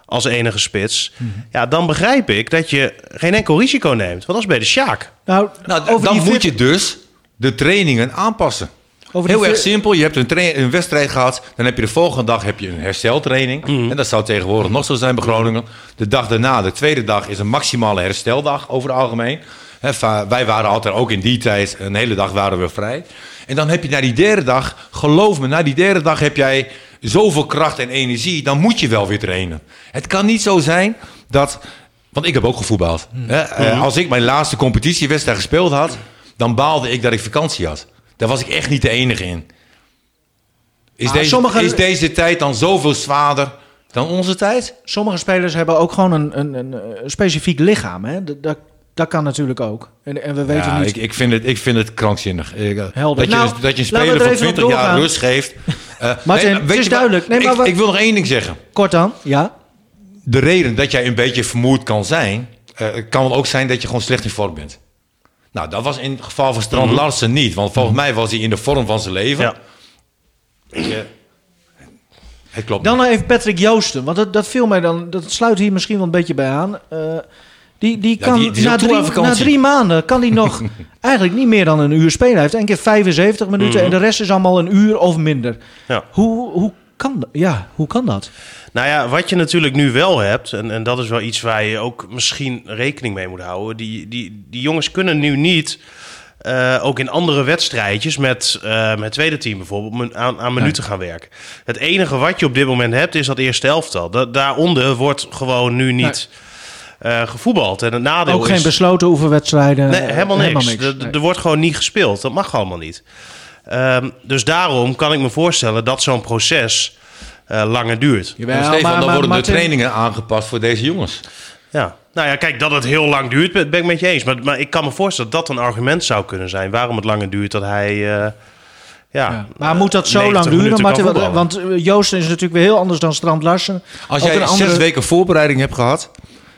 Speaker 4: als enige spits. Ja, dan begrijp ik dat je geen enkel risico neemt. Want dat is bij de Sjaak.
Speaker 2: Nou,
Speaker 3: Nou, d-
Speaker 2: over
Speaker 3: dan
Speaker 2: die
Speaker 3: moet
Speaker 2: fit-
Speaker 3: je dus de trainingen aanpassen.
Speaker 2: over die
Speaker 3: Heel erg
Speaker 2: fit-
Speaker 3: simpel. Je hebt een, tra- een wedstrijd gehad. Dan heb je de volgende dag heb je een hersteltraining. En dat zou tegenwoordig nog zo zijn bij Groningen. De dag daarna, de tweede dag, is een maximale hersteldag over het algemeen. Hè, va- wij waren altijd ook in die tijd, een hele dag waren we vrij. En dan heb je na die derde dag, geloof me, na die derde dag heb jij zoveel kracht en energie. Dan moet je wel weer trainen. Het kan niet zo zijn dat. Want ik heb ook gevoetbald. Hè, eh, als ik mijn laatste competitiewedstrijd gespeeld had, dan baalde ik dat ik vakantie had. Daar was ik echt niet de enige in. Is,
Speaker 2: Maar
Speaker 3: deze,
Speaker 2: sommige-
Speaker 3: is deze tijd dan zoveel zwaarder dan onze tijd?
Speaker 2: Sommige spelers hebben ook gewoon een, een, een eh, specifiek lichaam. Hè? Dat, dat, dat kan natuurlijk ook. En, en we weten
Speaker 3: ja,
Speaker 2: niet...
Speaker 3: ik, ik, vind het, ik vind het krankzinnig. Ik, eh,
Speaker 2: Helder.
Speaker 3: Dat, je,
Speaker 2: Nou,
Speaker 3: dat je een
Speaker 2: laten we
Speaker 3: speler
Speaker 2: er
Speaker 3: van
Speaker 2: even op
Speaker 3: 20 jaar
Speaker 2: doorgaan.
Speaker 3: rust
Speaker 2: [LAUGHS]
Speaker 3: geeft. Eh,
Speaker 2: Martin,
Speaker 3: nee,
Speaker 2: het
Speaker 3: weet
Speaker 2: is
Speaker 3: je wat?
Speaker 2: duidelijk. Nee,
Speaker 3: ik,
Speaker 2: maar wat-
Speaker 3: ik wil nog één ding zeggen.
Speaker 2: Kort dan, ja.
Speaker 3: De reden dat jij een beetje vermoeid kan zijn, eh, kan ook zijn dat je gewoon slecht in vorm bent. Nou, dat was in het geval van Strand Larsen niet. Want volgens mij was hij in de vorm van zijn leven.
Speaker 4: Ja.
Speaker 3: Ik, eh, het klopt.
Speaker 2: Dan nog even Patrick Joosten. Want dat, dat viel mij dan... Dat sluit hier misschien wel een beetje bij aan. Eh, die, die
Speaker 3: Ja,
Speaker 2: kan
Speaker 3: die- die is
Speaker 2: na,
Speaker 3: ook toe
Speaker 2: drie,
Speaker 3: aan vakantie.
Speaker 2: na drie maanden kan hij nog
Speaker 3: [LAUGHS]
Speaker 2: eigenlijk niet meer dan een uur spelen. Hij heeft één keer 75 minuten
Speaker 3: Mhm.
Speaker 2: en de rest is allemaal een uur of minder.
Speaker 4: Ja.
Speaker 2: Hoe, hoe, kan, dat? ja, hoe kan dat?
Speaker 4: Nou ja, wat je natuurlijk nu wel hebt, en, en dat is wel iets waar je ook misschien rekening mee moet houden. Die, die, die jongens kunnen nu niet, eh, ook in andere wedstrijdjes, met eh, het tweede team bijvoorbeeld, men- aan, aan minuten gaan werken. Het enige wat je op dit moment hebt, is dat eerste elftal. Da- daaronder wordt gewoon nu niet eh, gevoetbald. En het
Speaker 3: Nou,
Speaker 4: nadeel
Speaker 2: Ook
Speaker 4: is...
Speaker 2: geen besloten oefenwedstrijden.
Speaker 4: Nee,
Speaker 2: eh,
Speaker 4: helemaal niks. Er-
Speaker 2: Nee.
Speaker 4: Er wordt gewoon niet gespeeld. Dat mag allemaal niet. Ehm, dus daarom kan ik me voorstellen dat zo'n proces eh, langer duurt.
Speaker 2: Jawel,
Speaker 3: En Stefan,
Speaker 2: Nou, maar-
Speaker 3: dan
Speaker 2: maar
Speaker 3: worden de
Speaker 2: Martin-
Speaker 3: trainingen aangepast voor deze jongens.
Speaker 4: Ja. Nou ja, kijk, dat het heel lang duurt, ben ben ik met je eens. Maar, maar ik kan me voorstellen dat dat een argument zou kunnen zijn. Waarom het langer duurt dat hij... eh, ja,
Speaker 2: Ja. Maar moet dat
Speaker 4: eh,
Speaker 2: zo
Speaker 4: 90
Speaker 2: lang duren?
Speaker 4: minuten
Speaker 2: Martin?
Speaker 4: kan
Speaker 2: want
Speaker 4: voetballen?
Speaker 2: want eh, Joosten is natuurlijk weer heel anders dan Strand Larsen.
Speaker 3: Als
Speaker 2: Ook
Speaker 3: jij
Speaker 2: een
Speaker 3: zes
Speaker 2: andere-
Speaker 3: weken voorbereiding hebt gehad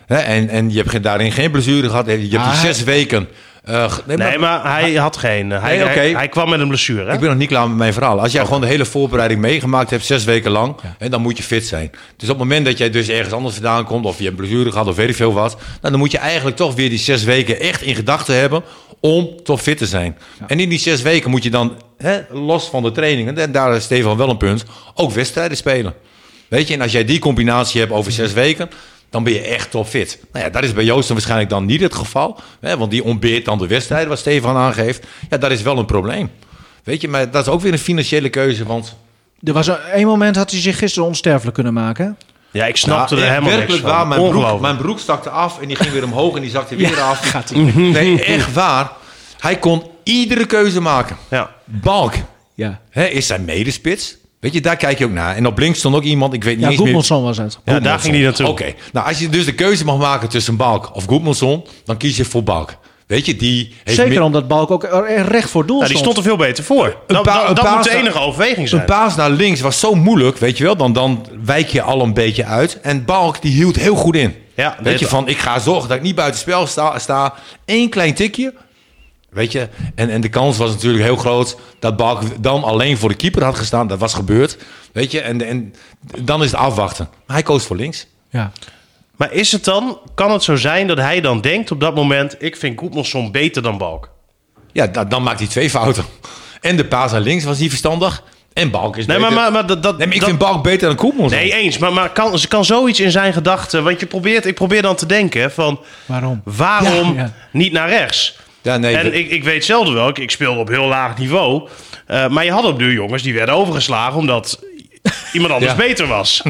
Speaker 3: hè, en, en je hebt geen- daarin geen blessure gehad, hè, je hebt die
Speaker 2: Ah.
Speaker 3: zes weken. eh, ge- nee, maar
Speaker 4: Nee, maar hij had geen... eh, Hij,
Speaker 3: Nee, oké.
Speaker 4: hij, hij kwam met een blessure, hè?
Speaker 3: Ik ben nog niet klaar met mijn verhaal. Als jij
Speaker 2: Oh.
Speaker 3: gewoon de hele voorbereiding meegemaakt hebt, zes weken lang, hè, dan moet je fit zijn. Dus op het moment dat jij dus ergens anders vandaan komt, of je hebt een blessure gehad, of weet ik veel wat, nou, dan moet je eigenlijk toch weer die zes weken echt in gedachten hebben om toch fit te zijn. En in die zes weken moet je dan, hè, los van de trainingen, en daar is Stefan wel een punt, ook wedstrijden spelen. Weet je, en als jij die combinatie hebt over zes weken, dan ben je echt topfit. Nou ja, dat is bij Joosten waarschijnlijk dan niet het geval. Hè, want die ontbeert dan de wedstrijd, wat Stefan aangeeft. Ja, dat is wel een probleem. Weet je, maar dat is ook weer een financiële keuze, want...
Speaker 2: Er was een één moment had hij zich gisteren onsterfelijk kunnen maken. hè?
Speaker 4: Ja, ik snapte
Speaker 3: Nou,
Speaker 4: er
Speaker 3: echt
Speaker 4: helemaal niks
Speaker 3: werkelijk
Speaker 4: van.
Speaker 3: waar, mijn broek,
Speaker 4: Ongelooflijk.
Speaker 3: mijn broek stakte af en die ging weer omhoog en die zakte weer af.
Speaker 4: Mhm.
Speaker 3: nee, echt waar. Hij kon iedere keuze maken.
Speaker 4: Ja.
Speaker 3: Balk
Speaker 2: Ja,
Speaker 3: hè, is zijn medespits. Weet je, daar kijk je ook naar. En op links stond ook iemand, ik weet niet
Speaker 2: ja
Speaker 3: eens meer...
Speaker 2: Goedmanson was het.
Speaker 4: Ja, daar ging hij naartoe.
Speaker 3: Oké, nou als je dus de keuze mag maken tussen Balk of Goedmanson, dan kies je voor Balk. Weet je, die heeft
Speaker 2: Zeker
Speaker 3: meer-
Speaker 2: omdat Balk ook er- er recht voor doel
Speaker 4: Nou, die stond er veel beter voor. Dat,
Speaker 3: paar-
Speaker 4: Nou, dat-
Speaker 3: een
Speaker 4: dat
Speaker 3: paar
Speaker 4: moet de
Speaker 3: sta-
Speaker 4: enige overweging zijn.
Speaker 3: Een paas naar links was zo moeilijk, weet je wel, dan, dan wijk je al een beetje uit. En Balk die hield heel goed in.
Speaker 4: Ja,
Speaker 3: weet
Speaker 4: dit-
Speaker 3: je, van ik ga zorgen dat ik niet buitenspel sta, sta. Eén klein tikje, Weet je, en, en de kans was natuurlijk heel groot dat Balkendam alleen voor de keeper had gestaan. Dat was gebeurd. Weet je, en, en dan is het afwachten. Maar hij koos voor links.
Speaker 2: Ja.
Speaker 4: Maar is het dan, kan het zo zijn dat hij dan denkt op dat moment... ik vind Goedmanson beter dan Balk?
Speaker 3: Ja, da- dan maakt hij twee fouten. En de paas naar links was niet verstandig. En Balk is
Speaker 4: Nee,
Speaker 3: beter.
Speaker 4: maar, maar, maar dat... dat
Speaker 3: nee, maar ik
Speaker 4: dat-
Speaker 3: vind Balk beter dan Koemels.
Speaker 4: Nee, eens. Maar, maar kan, kan zoiets in zijn gedachten... want je probeert, ik probeer dan te denken van...
Speaker 2: Waarom?
Speaker 4: waarom
Speaker 2: Ja, ja.
Speaker 4: niet naar rechts?
Speaker 3: Ja, nee, dat-
Speaker 4: en ik, ik weet zelden wel, ik, ik speelde op heel laag niveau... eh, maar je had op nu jongens die werden overgeslagen omdat... Iemand anders
Speaker 3: [LAUGHS] Ja.
Speaker 4: beter was.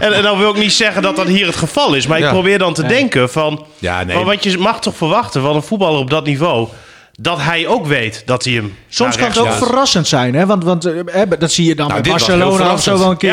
Speaker 4: en, en dan wil ik niet zeggen dat dat hier het geval is. Maar ik
Speaker 3: Ja.
Speaker 4: probeer dan te denken van...
Speaker 3: Ja, nee.
Speaker 4: Maar wat je mag toch verwachten van een voetballer op dat niveau... dat hij ook weet dat hij hem
Speaker 2: Soms
Speaker 4: naar
Speaker 2: kan het ook
Speaker 4: rechts laat.
Speaker 2: verrassend zijn, hè? Want, want eh, eh, dat zie je dan
Speaker 3: Nou,
Speaker 2: bij
Speaker 3: dit was heel
Speaker 2: Barcelona of zo wel een keer.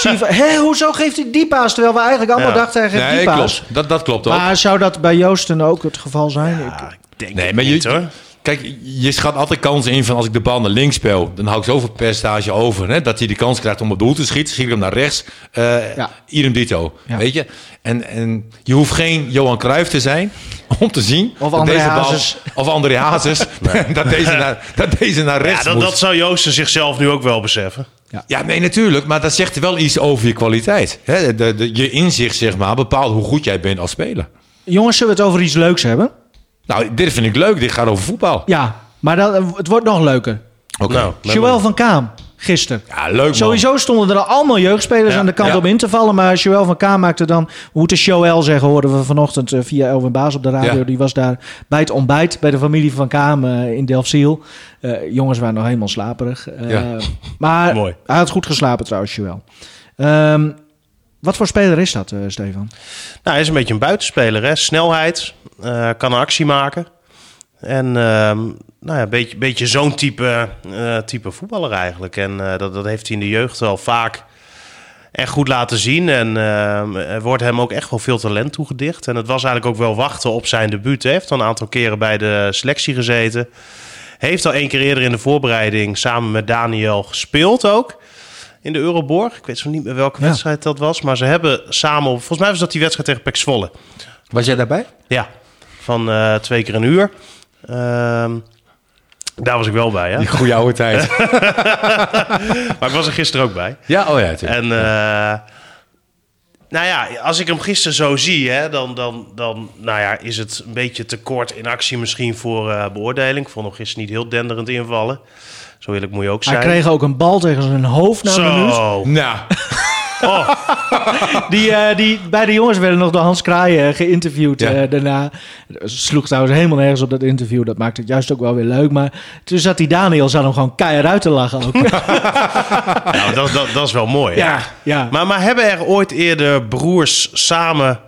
Speaker 2: [LAUGHS] Zie je van, hé, hoezo geeft hij die paas? Terwijl we eigenlijk allemaal
Speaker 4: Ja.
Speaker 2: dachten hij geeft
Speaker 3: Nee,
Speaker 2: die paas.
Speaker 3: klopt. Dat, dat klopt ook.
Speaker 2: Maar zou dat bij Joosten ook het geval zijn? Ik-
Speaker 4: Ah, ik denk
Speaker 3: Nee,
Speaker 4: het
Speaker 3: maar
Speaker 4: niet,
Speaker 3: je,
Speaker 4: hoor.
Speaker 3: kijk, je schat altijd kansen in van als ik de bal naar links speel, dan hou ik zoveel percentage over. Hè, dat hij de kans krijgt om op doel te schieten. Schiet ik hem naar rechts. eh
Speaker 2: Ja.
Speaker 3: Idem dito.
Speaker 2: Ja.
Speaker 3: Weet je? En, en je hoeft geen Johan Cruijff te zijn om te zien. dat
Speaker 2: André
Speaker 3: deze bal-
Speaker 2: Hazes.
Speaker 3: Of André
Speaker 2: [LAUGHS]
Speaker 3: Hazes. [LAUGHS] dat, deze naar, dat deze naar
Speaker 4: Ja,
Speaker 3: rechts
Speaker 4: dat,
Speaker 3: moet.
Speaker 4: dat zou Joosten zichzelf nu ook wel beseffen.
Speaker 3: Ja, nee, natuurlijk. Maar dat zegt wel iets over je kwaliteit. Hè, de, de, je inzicht, zeg maar, bepaalt hoe goed jij bent als speler.
Speaker 2: Jongens, zullen we het over iets leuks hebben?
Speaker 3: Nou, dit vind ik leuk. Dit gaat over voetbal.
Speaker 2: Ja, maar dat, het wordt nog leuker.
Speaker 3: Oké.
Speaker 4: Nou,
Speaker 2: Joël van Kaam, gisteren.
Speaker 3: Ja, leuk man.
Speaker 2: Sowieso stonden er allemaal jeugdspelers
Speaker 4: Ja,
Speaker 2: aan de kant
Speaker 3: ja.
Speaker 2: om in te vallen. Maar Joël van Kaam maakte dan, hoe te Joël zeggen, hoorden we vanochtend eh, via Elwin Baas op de radio.
Speaker 3: Ja.
Speaker 2: Die was daar bij het ontbijt bij de familie van Kaam eh, in Delfziel. Eh, jongens waren nog helemaal slaperig. Eh,
Speaker 3: Ja.
Speaker 2: Maar
Speaker 3: [LAUGHS]
Speaker 4: Mooi.
Speaker 2: hij had goed geslapen trouwens, Joël. Ehm, wat voor speler is dat, eh, Stefan?
Speaker 4: Nou, hij is een beetje een buitenspeler, hè? Snelheid, eh, kan een actie maken. En ehm, nou ja, een beetje, beetje zo'n type, eh, type voetballer eigenlijk. En eh, dat, dat heeft hij in de jeugd wel vaak echt goed laten zien. En ehm, er wordt hem ook echt wel veel talent toegedicht. En het was eigenlijk ook wel wachten op zijn debuut. Hij heeft al een aantal keren bij de selectie gezeten. Heeft al één keer eerder in de voorbereiding samen met Daniel gespeeld ook. In de Euroborg. Ik weet zo niet meer welke
Speaker 2: Ja.
Speaker 4: wedstrijd dat was. Maar ze hebben samen... op- Volgens mij was dat die wedstrijd tegen Pek Zwolle.
Speaker 3: Was jij daarbij?
Speaker 4: Ja, van eh, twee keer een uur. Ehm, daar was ik wel bij, hè?
Speaker 3: Die goede oude tijd.
Speaker 2: [LAUGHS]
Speaker 4: Maar ik was er gisteren ook bij.
Speaker 3: Ja, oh ja, natuurlijk.
Speaker 4: En eh, nou ja, als ik hem gisteren zo zie, hè, dan, dan, dan nou ja, is het een beetje tekort in actie misschien voor eh, beoordeling. Ik vond hem gisteren niet heel denderend invallen. Zo eerlijk moet je ook zijn.
Speaker 2: Hij kreeg ook een bal tegen zijn hoofd na een minuut.
Speaker 4: zo.
Speaker 3: Nou,
Speaker 4: Oh,
Speaker 2: Die, eh, die, beide jongens werden nog door Hans Kraaien geïnterviewd
Speaker 3: Ja.
Speaker 2: eh, daarna. Sloeg trouwens helemaal nergens op dat interview. Dat maakte het juist ook wel weer leuk. Maar toen zat die Daniel zat hem gewoon keihard uit te lachen
Speaker 3: [LAUGHS]
Speaker 2: ook.
Speaker 4: nou, dat, dat, dat is wel mooi. hè?
Speaker 2: ja, ja.
Speaker 4: Maar, maar hebben er ooit eerder broers samen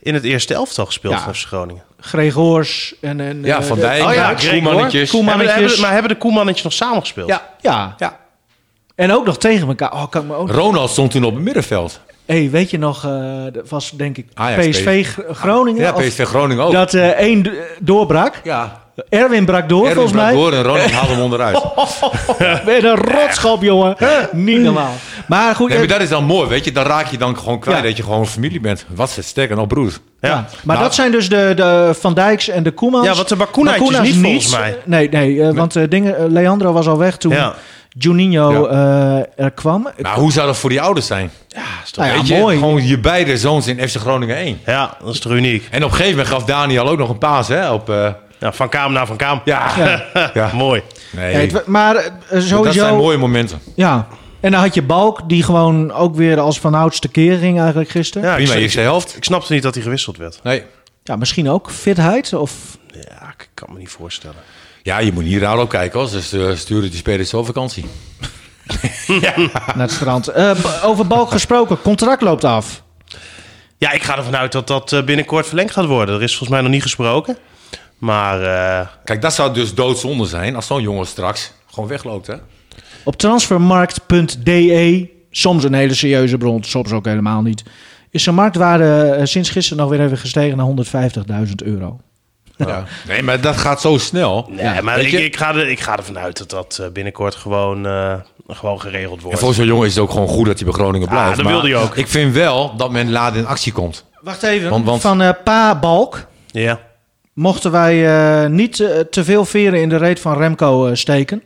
Speaker 4: in het eerste elftal gespeeld
Speaker 2: Ja.
Speaker 4: van FC Groningen?
Speaker 2: Gregors en... en
Speaker 3: ja,
Speaker 2: eh,
Speaker 3: Van
Speaker 2: de-
Speaker 3: Dijk,
Speaker 4: oh ja,
Speaker 3: Koemannetjes.
Speaker 2: Koeman-
Speaker 4: Hebben,
Speaker 2: Koemannetjes.
Speaker 4: hebben- maar hebben de Koemannetjes nog samengespeeld?
Speaker 2: Ja, ja.
Speaker 3: Ja.
Speaker 2: En ook nog tegen elkaar. Oh, kan ik me ook...
Speaker 3: Ronald stond toen op het middenveld.
Speaker 2: hey, weet je nog, eh, dat was denk ik
Speaker 3: Ajax,
Speaker 2: PSV Gr- Groningen?
Speaker 3: Ja,
Speaker 2: Of
Speaker 3: PSV Groningen ook.
Speaker 2: Dat eh één d- doorbrak.
Speaker 3: ja.
Speaker 2: Erwin brak door,
Speaker 3: Erwin
Speaker 2: volgens
Speaker 3: brak
Speaker 2: mij. Oh,
Speaker 3: door en Ronald haalde hem
Speaker 2: [LAUGHS]
Speaker 3: onderuit.
Speaker 2: Weer een rotschap, jongen. Niet normaal. Maar goed...
Speaker 3: Nee, maar
Speaker 2: eh,
Speaker 3: dat is dan mooi, weet je. Dan raak je dan gewoon kwijt
Speaker 2: Ja.
Speaker 3: dat je gewoon familie bent. Wat is het sterk en al broer.
Speaker 2: Ja.
Speaker 4: Ja.
Speaker 2: Maar
Speaker 3: Nou,
Speaker 2: dat zijn dus de, de Van Dijks en de Koemans.
Speaker 4: Ja, want de Bakunaatjes
Speaker 2: Bakuna's
Speaker 4: niet, volgens mij.
Speaker 2: Nee, nee, eh, want eh, dingen, eh, Leandro was al weg toen
Speaker 4: Ja.
Speaker 2: Juninho eh, er kwam.
Speaker 3: Maar hoe zou dat voor die ouders zijn?
Speaker 4: Ja, is toch-
Speaker 2: Nou ja,
Speaker 3: weet je,
Speaker 2: mooi.
Speaker 3: gewoon je beide zoons in FC Groningen 1.
Speaker 4: ja, dat is toch uniek.
Speaker 3: En op een gegeven moment gaf Daniel ook nog een paas, hè? Op, eh,
Speaker 4: Ja, van Kaam naar Van Kaam.
Speaker 3: ja. ja.
Speaker 4: Mooi.
Speaker 3: Nee,
Speaker 2: Ja, het wa- maar eh, sowieso...
Speaker 3: dat zijn mooie momenten.
Speaker 2: Ja. En dan had je Balk, die gewoon ook weer als van oudste keer ging eigenlijk gisteren. Ja,
Speaker 4: Ja, ik,
Speaker 3: Prima
Speaker 4: sn-
Speaker 3: eerste helft.
Speaker 4: ik snapte niet dat hij gewisseld werd.
Speaker 3: Nee.
Speaker 2: misschien ook fitheid of...
Speaker 4: Ja, ik kan me niet voorstellen.
Speaker 3: Ja, je moet hier raar op kijken, hoor. Ze stu- sturen die spelers op vakantie.
Speaker 2: Naar het strand. Eh, b- over Balk gesproken, contract loopt af.
Speaker 4: Ja, ik ga ervan uit dat dat eh, binnenkort verlengd gaat worden. Er is volgens mij nog niet gesproken. Maar eh,
Speaker 3: Kijk, dat zou dus doodzonde zijn als zo'n jongen straks gewoon wegloopt, hè?
Speaker 2: Op transfermarkt.de, E, soms een hele serieuze bron, soms ook helemaal niet, is zijn marktwaarde eh, sinds gisteren nog weer even gestegen naar 150.000 euro.
Speaker 3: Ja. Nee, maar dat gaat zo snel.
Speaker 4: nee, maar
Speaker 3: weet
Speaker 4: ik,
Speaker 3: je-
Speaker 4: ik, ga er, ik ga ervan uit dat dat eh, binnenkort gewoon, eh, gewoon geregeld
Speaker 3: En
Speaker 4: wordt.
Speaker 3: voor zo'n jongen is het ook gewoon goed dat hij bij Groningen blijft.
Speaker 4: dat
Speaker 3: maar
Speaker 4: wilde hij ook.
Speaker 3: Ik vind wel dat men laat in actie komt.
Speaker 2: Wacht even.
Speaker 3: Want- want-
Speaker 2: Van eh Pa Balk,
Speaker 4: Ja.
Speaker 2: Mochten wij eh, niet eh, te veel veren in de reet van Remco eh, steken.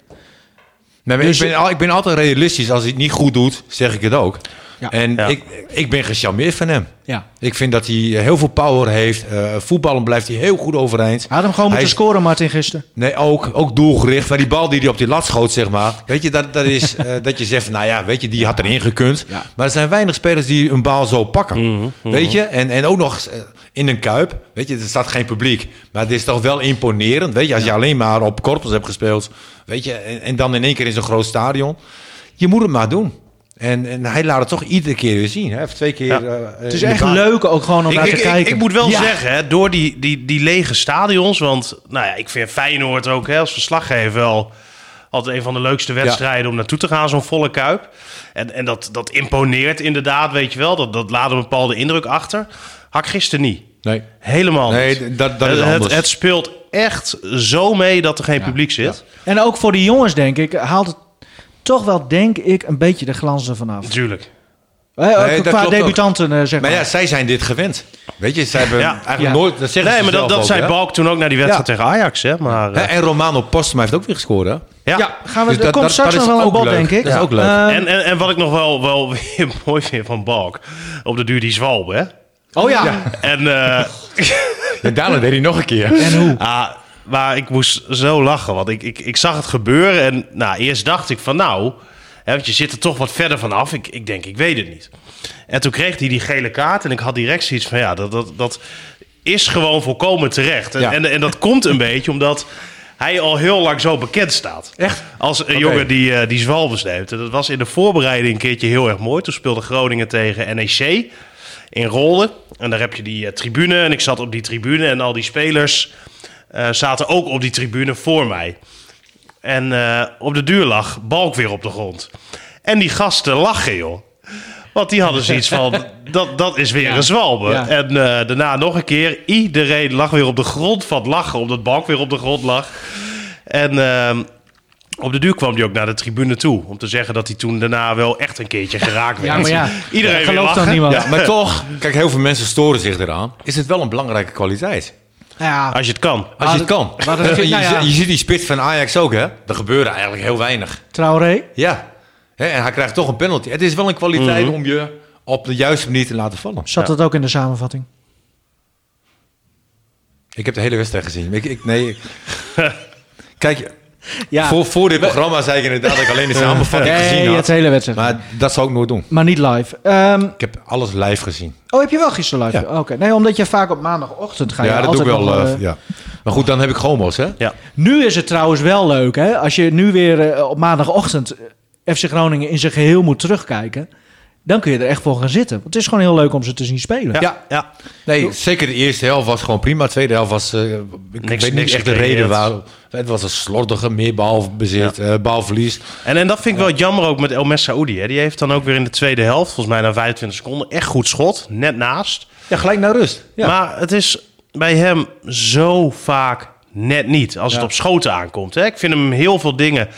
Speaker 3: Nee, maar
Speaker 2: Dus-
Speaker 3: ik, ben, al- ik ben altijd realistisch. Als hij het niet goed doet, zeg ik het ook.
Speaker 2: Ja.
Speaker 3: En
Speaker 4: Ja.
Speaker 3: Ik, ik ben gecharmeerd van hem.
Speaker 2: Ja.
Speaker 3: Ik vind dat hij eh, heel veel power heeft. Eh voetballen blijft hij heel goed overeind.
Speaker 2: Had hem gewoon
Speaker 3: Hij
Speaker 2: moeten
Speaker 3: is-
Speaker 2: scoren, Martin, gisteren.
Speaker 3: Nee, ook, ook doelgericht. Maar die bal die hij op die lat schoot, zeg maar. Weet je, dat, dat is eh, dat je zegt, van, nou ja, weet je, die had erin gekund.
Speaker 2: Ja.
Speaker 3: Maar er zijn weinig spelers die een bal zo pakken. Weet je, en, en ook nog eens, eh, in een kuip. Weet je, er staat geen publiek. Maar het is toch wel imponerend. Weet je, als je alleen maar op korpels hebt gespeeld. Weet je, en, en dan in één keer in zo'n groot stadion. Je moet het maar doen. En, en hij laat het toch iedere keer weer zien. Hè? Of twee keer.
Speaker 4: Ja.
Speaker 3: eh,
Speaker 2: Het
Speaker 3: in
Speaker 2: is
Speaker 3: de
Speaker 2: echt
Speaker 3: baan.
Speaker 2: leuk ook gewoon om
Speaker 4: Ik,
Speaker 2: naar
Speaker 4: ik,
Speaker 2: te
Speaker 4: ik-
Speaker 2: kijken.
Speaker 4: ik moet wel
Speaker 3: Ja.
Speaker 4: zeggen, hè, door die, die, die lege stadions. Want nou ja, ik vind Feyenoord ook hè, als verslaggever wel altijd een van de leukste wedstrijden om naartoe te gaan, zo'n volle kuip. En, en dat, dat imponeert inderdaad, weet je wel. Dat, dat laat een bepaalde indruk achter. Hak gisteren niet.
Speaker 3: Nee.
Speaker 4: Helemaal
Speaker 3: Nee,
Speaker 4: niet.
Speaker 3: d- dat- dat is
Speaker 4: het,
Speaker 3: anders.
Speaker 4: het speelt echt zo mee dat er geen publiek zit.
Speaker 2: En ook voor die jongens, denk ik, haalt het toch wel, denk ik, een beetje de glans ervan af.
Speaker 4: Natuurlijk.
Speaker 2: Hè, ook
Speaker 3: Nee, dat
Speaker 2: qua
Speaker 3: klopt ook.
Speaker 2: debutanten, eh, zeg maar.
Speaker 3: Maar ja, zij zijn dit gewend. Weet je, zij hebben
Speaker 4: Ja.
Speaker 3: eigenlijk
Speaker 2: Ja.
Speaker 3: nooit... Dat zeggen
Speaker 4: Nee,
Speaker 3: ze
Speaker 4: maar dat,
Speaker 3: zelf
Speaker 4: dat
Speaker 3: ook,
Speaker 4: zei
Speaker 3: hè?
Speaker 4: Balk toen ook naar die wedstrijd
Speaker 3: Ja.
Speaker 4: tegen Ajax. Hè? Maar,
Speaker 3: Hè,
Speaker 4: eh,
Speaker 3: en Romano Postma heeft ook weer gescoord, hè?
Speaker 4: ja.
Speaker 2: Ja, gaan we,
Speaker 3: Dus
Speaker 2: er
Speaker 3: dat-
Speaker 2: komt
Speaker 3: dat-
Speaker 2: straks
Speaker 3: dat
Speaker 2: nog
Speaker 3: is
Speaker 2: wel een
Speaker 3: ook
Speaker 2: bod,
Speaker 3: leuk.
Speaker 2: denk ik.
Speaker 3: Dat is ook leuk.
Speaker 2: Ehm,
Speaker 4: eh, En, en, en wat ik nog wel, wel [LAUGHS] weer mooi vind van Balk. Op de duur die zwalbe, hè?
Speaker 2: oh ja.
Speaker 4: En, eh,
Speaker 3: En daarna deed hij nog een keer.
Speaker 2: En hoe?
Speaker 4: ah, maar ik moest zo lachen, want ik, ik, ik zag het gebeuren. En nou, eerst dacht ik van nou, hè, want je zit er toch wat verder vanaf. Ik, ik denk, ik weet het niet. En toen kreeg hij die gele kaart en ik had direct zoiets van ja, dat, dat, dat is gewoon volkomen terecht. En,
Speaker 3: Ja.
Speaker 4: en, en dat komt een beetje omdat hij al heel lang zo bekend staat.
Speaker 3: Echt?
Speaker 4: Als een jongen die, eh die zwalbes neemt. En dat was in de voorbereiding een keertje heel erg mooi. Toen speelde Groningen tegen NEC in Rolde. En daar heb je die eh, tribune. En ik zat op die tribune. En al die spelers eh, zaten ook op die tribune voor mij. En eh, op de duur lag Balk weer op de grond. En die gasten lachen, joh. Want die hadden zoiets
Speaker 2: [LAUGHS]
Speaker 4: van, dat, dat is weer een zwalbe.
Speaker 2: Ja.
Speaker 4: En eh, daarna nog een keer, iedereen lag weer op de grond van het lachen. Omdat Balk weer op de grond lag. En ehm, op de duur kwam hij ook naar de tribune toe. Om te zeggen dat hij toen daarna wel echt een keertje geraakt werd.
Speaker 2: Ja, maar ja.
Speaker 4: Iedereen
Speaker 2: Dat
Speaker 4: weer
Speaker 2: gelooft dan
Speaker 4: lachen.
Speaker 2: niemand.
Speaker 3: Ja, maar toch, kijk, heel veel mensen storen zich eraan. Is het wel een belangrijke kwaliteit?
Speaker 2: Ja.
Speaker 4: Als je het kan.
Speaker 3: Als je het kan.
Speaker 2: Ah, maar dat-
Speaker 3: [LAUGHS] je,
Speaker 2: nou ja.
Speaker 3: je ziet die spits van Ajax ook, hè? Er gebeurde eigenlijk heel weinig.
Speaker 2: Traoré.
Speaker 3: Ja. Hè, en hij krijgt toch een penalty. Het is wel een kwaliteit
Speaker 4: Mhm.
Speaker 3: om je op de juiste manier te laten vallen.
Speaker 2: Zat dat ook in de samenvatting?
Speaker 3: Ik heb de hele wedstrijd gezien. Ik, ik, nee.
Speaker 4: [LAUGHS]
Speaker 3: ik- Kijk,
Speaker 2: Ja.
Speaker 3: voor, voor dit programma zei ik inderdaad dat ik alleen de samenvatting gezien
Speaker 2: Nee,
Speaker 3: had.
Speaker 2: het hele wedstrijd. Maar,
Speaker 3: Maar dat zou ik nooit doen.
Speaker 2: niet live. Ehm,
Speaker 3: Ik heb alles live gezien.
Speaker 2: oh, heb je wel gisteren live?
Speaker 3: Ja.
Speaker 2: Oké. Nee, omdat je vaak op maandagochtend gaat.
Speaker 3: Ja, dat doe ik wel.
Speaker 2: Nog,
Speaker 3: eh,
Speaker 2: eh,
Speaker 3: ja. Maar goed, dan heb ik GOMO's, hè?
Speaker 4: Ja.
Speaker 2: Nu is het trouwens wel leuk, hè? Als je nu weer eh, op maandagochtend eh, FC Groningen in zijn geheel moet terugkijken, dan kun je er echt voor gaan zitten. Want het is gewoon heel leuk om ze te zien spelen.
Speaker 4: Ja.
Speaker 3: Ja. Nee, zeker de eerste helft was gewoon prima. De tweede helft was... eh, ik
Speaker 4: Niks-
Speaker 3: weet
Speaker 4: niks
Speaker 3: niet echt de
Speaker 4: gecreëerd.
Speaker 3: reden waar. Het was een slordige meerbalbezit, eh balverlies.
Speaker 4: En, en dat vind ik wel jammer ook met El Messaoudi. hè. Die heeft dan ook weer in de tweede helft, volgens mij na 25 seconden, echt goed schot. Net naast.
Speaker 3: Ja, gelijk naar rust. Ja.
Speaker 4: Maar het is bij hem zo vaak net niet. Als het op schoten aankomt. Hè. Ik vind hem heel veel dingen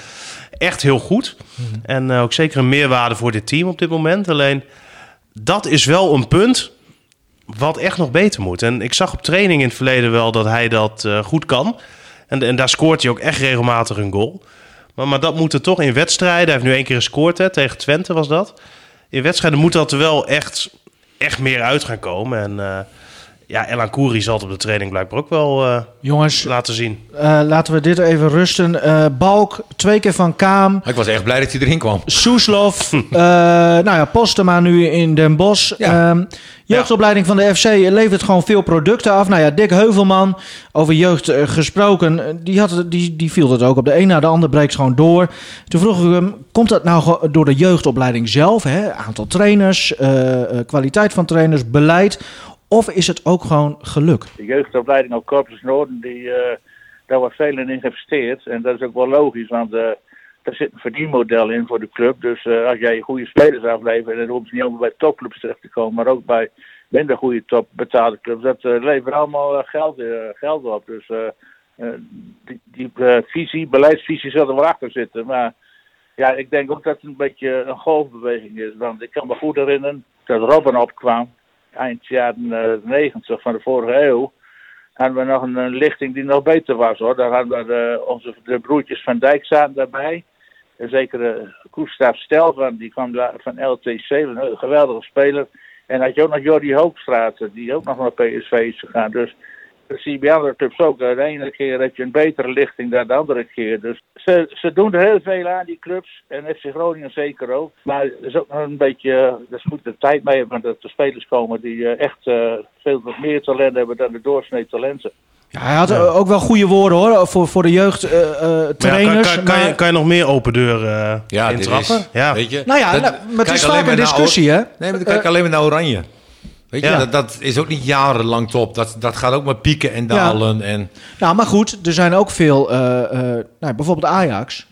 Speaker 4: echt heel goed. En eh, ook zeker een meerwaarde voor dit team op dit moment. Alleen dat is wel een punt wat echt nog beter moet. En ik zag op training in het verleden wel dat hij dat eh, goed kan. En, en daar scoort hij ook echt regelmatig een goal. Maar, maar dat moet er toch in wedstrijden. Hij heeft nu één keer gescoord hè, tegen Twente was dat. In wedstrijden moet dat er wel echt, echt meer uit gaan komen. En eh ja, Elan Koeri zal het op de training blijkbaar ook wel eh,
Speaker 2: Jongens,
Speaker 4: laten zien.
Speaker 2: eh, laten we dit even rusten. Eh, Balk, twee keer van Kaam.
Speaker 3: Ik was echt blij dat hij erin kwam.
Speaker 4: [LAUGHS]
Speaker 2: Soeslof, eh, nou ja, Postema nu in Den Bosch.
Speaker 3: Ja.
Speaker 2: Ehm, jeugdopleiding van de FC levert gewoon veel producten af. Nou ja, Dick Heuvelman, over jeugd eh, gesproken, eh, die, had, het- die, die viel dat ook op de een na de ander breekt gewoon door. Toen vroeg ik hem, komt dat nou gewoon door de jeugdopleiding zelf? Hè? Aantal trainers, eh, eh, kwaliteit van trainers, beleid. Of is het ook gewoon geluk?
Speaker 5: de jeugdopleiding op Corpus Noorden, die, eh, daar wordt veel in geïnvesteerd. En dat is ook wel logisch, want eh daar zit een verdienmodel in voor de club. Dus eh, als jij goede spelers aflevert, en dan hoeven ze niet allemaal bij topclubs terecht te komen, maar ook bij minder goede topbetaalde clubs. Dat eh, levert allemaal eh, geld, eh, geld op. Dus eh, eh, die, die eh, visie, beleidsvisie zal er wel achter zitten. Maar ja, ik denk ook dat het een beetje een golfbeweging is. Want ik kan me goed herinneren dat Robin opkwam eind jaren eh, 90 van de vorige eeuw. hadden we nog een, een lichting die nog beter was hoor. Daar hadden we de, onze de broertjes van Dijk zaten daarbij. En zeker uh, Koestaf Stelvan, die kwam daar van LTC, een geweldige speler. En had je ook nog Jordi Hoogstraat, die ook nog naar PSV is gegaan. Dus dat zie je bij andere clubs ook. De ene keer heb je een betere lichting dan de andere keer. Dus ze, ze doen er heel veel aan, die clubs. En FC Groningen zeker ook. Maar het is ook nog een beetje, eh, daar moet de tijd mee hebben. Dat er spelers komen die eh, echt eh, veel wat meer talent hebben dan de doorsnee talenten.
Speaker 2: Ja, hij had eh, ook wel goede woorden hoor, voor, voor de jeugd eh, eh,
Speaker 4: Maar ja,
Speaker 2: trainers.
Speaker 4: kan, kan, kan, je,
Speaker 2: maar-
Speaker 4: kan je nog meer open deuren eh
Speaker 3: Ja, dit
Speaker 4: intrappen?
Speaker 3: is,
Speaker 4: ja.
Speaker 3: Weet je,
Speaker 2: Nou ja,
Speaker 3: dat-
Speaker 2: nou, maar het
Speaker 3: kijk
Speaker 2: is vaak
Speaker 3: alleen
Speaker 2: een
Speaker 3: naar
Speaker 2: discussie,
Speaker 3: Or-
Speaker 2: hè?
Speaker 3: Nee, maar dan kijk
Speaker 2: Eh,
Speaker 3: ik alleen maar naar Oranje. Weet je,
Speaker 4: Ja.
Speaker 3: dat, dat is ook niet jarenlang top. Dat, dat gaat ook maar pieken en dalen. En,
Speaker 2: Nou, maar goed, er zijn ook veel, eh, eh, nou, bijvoorbeeld Ajax.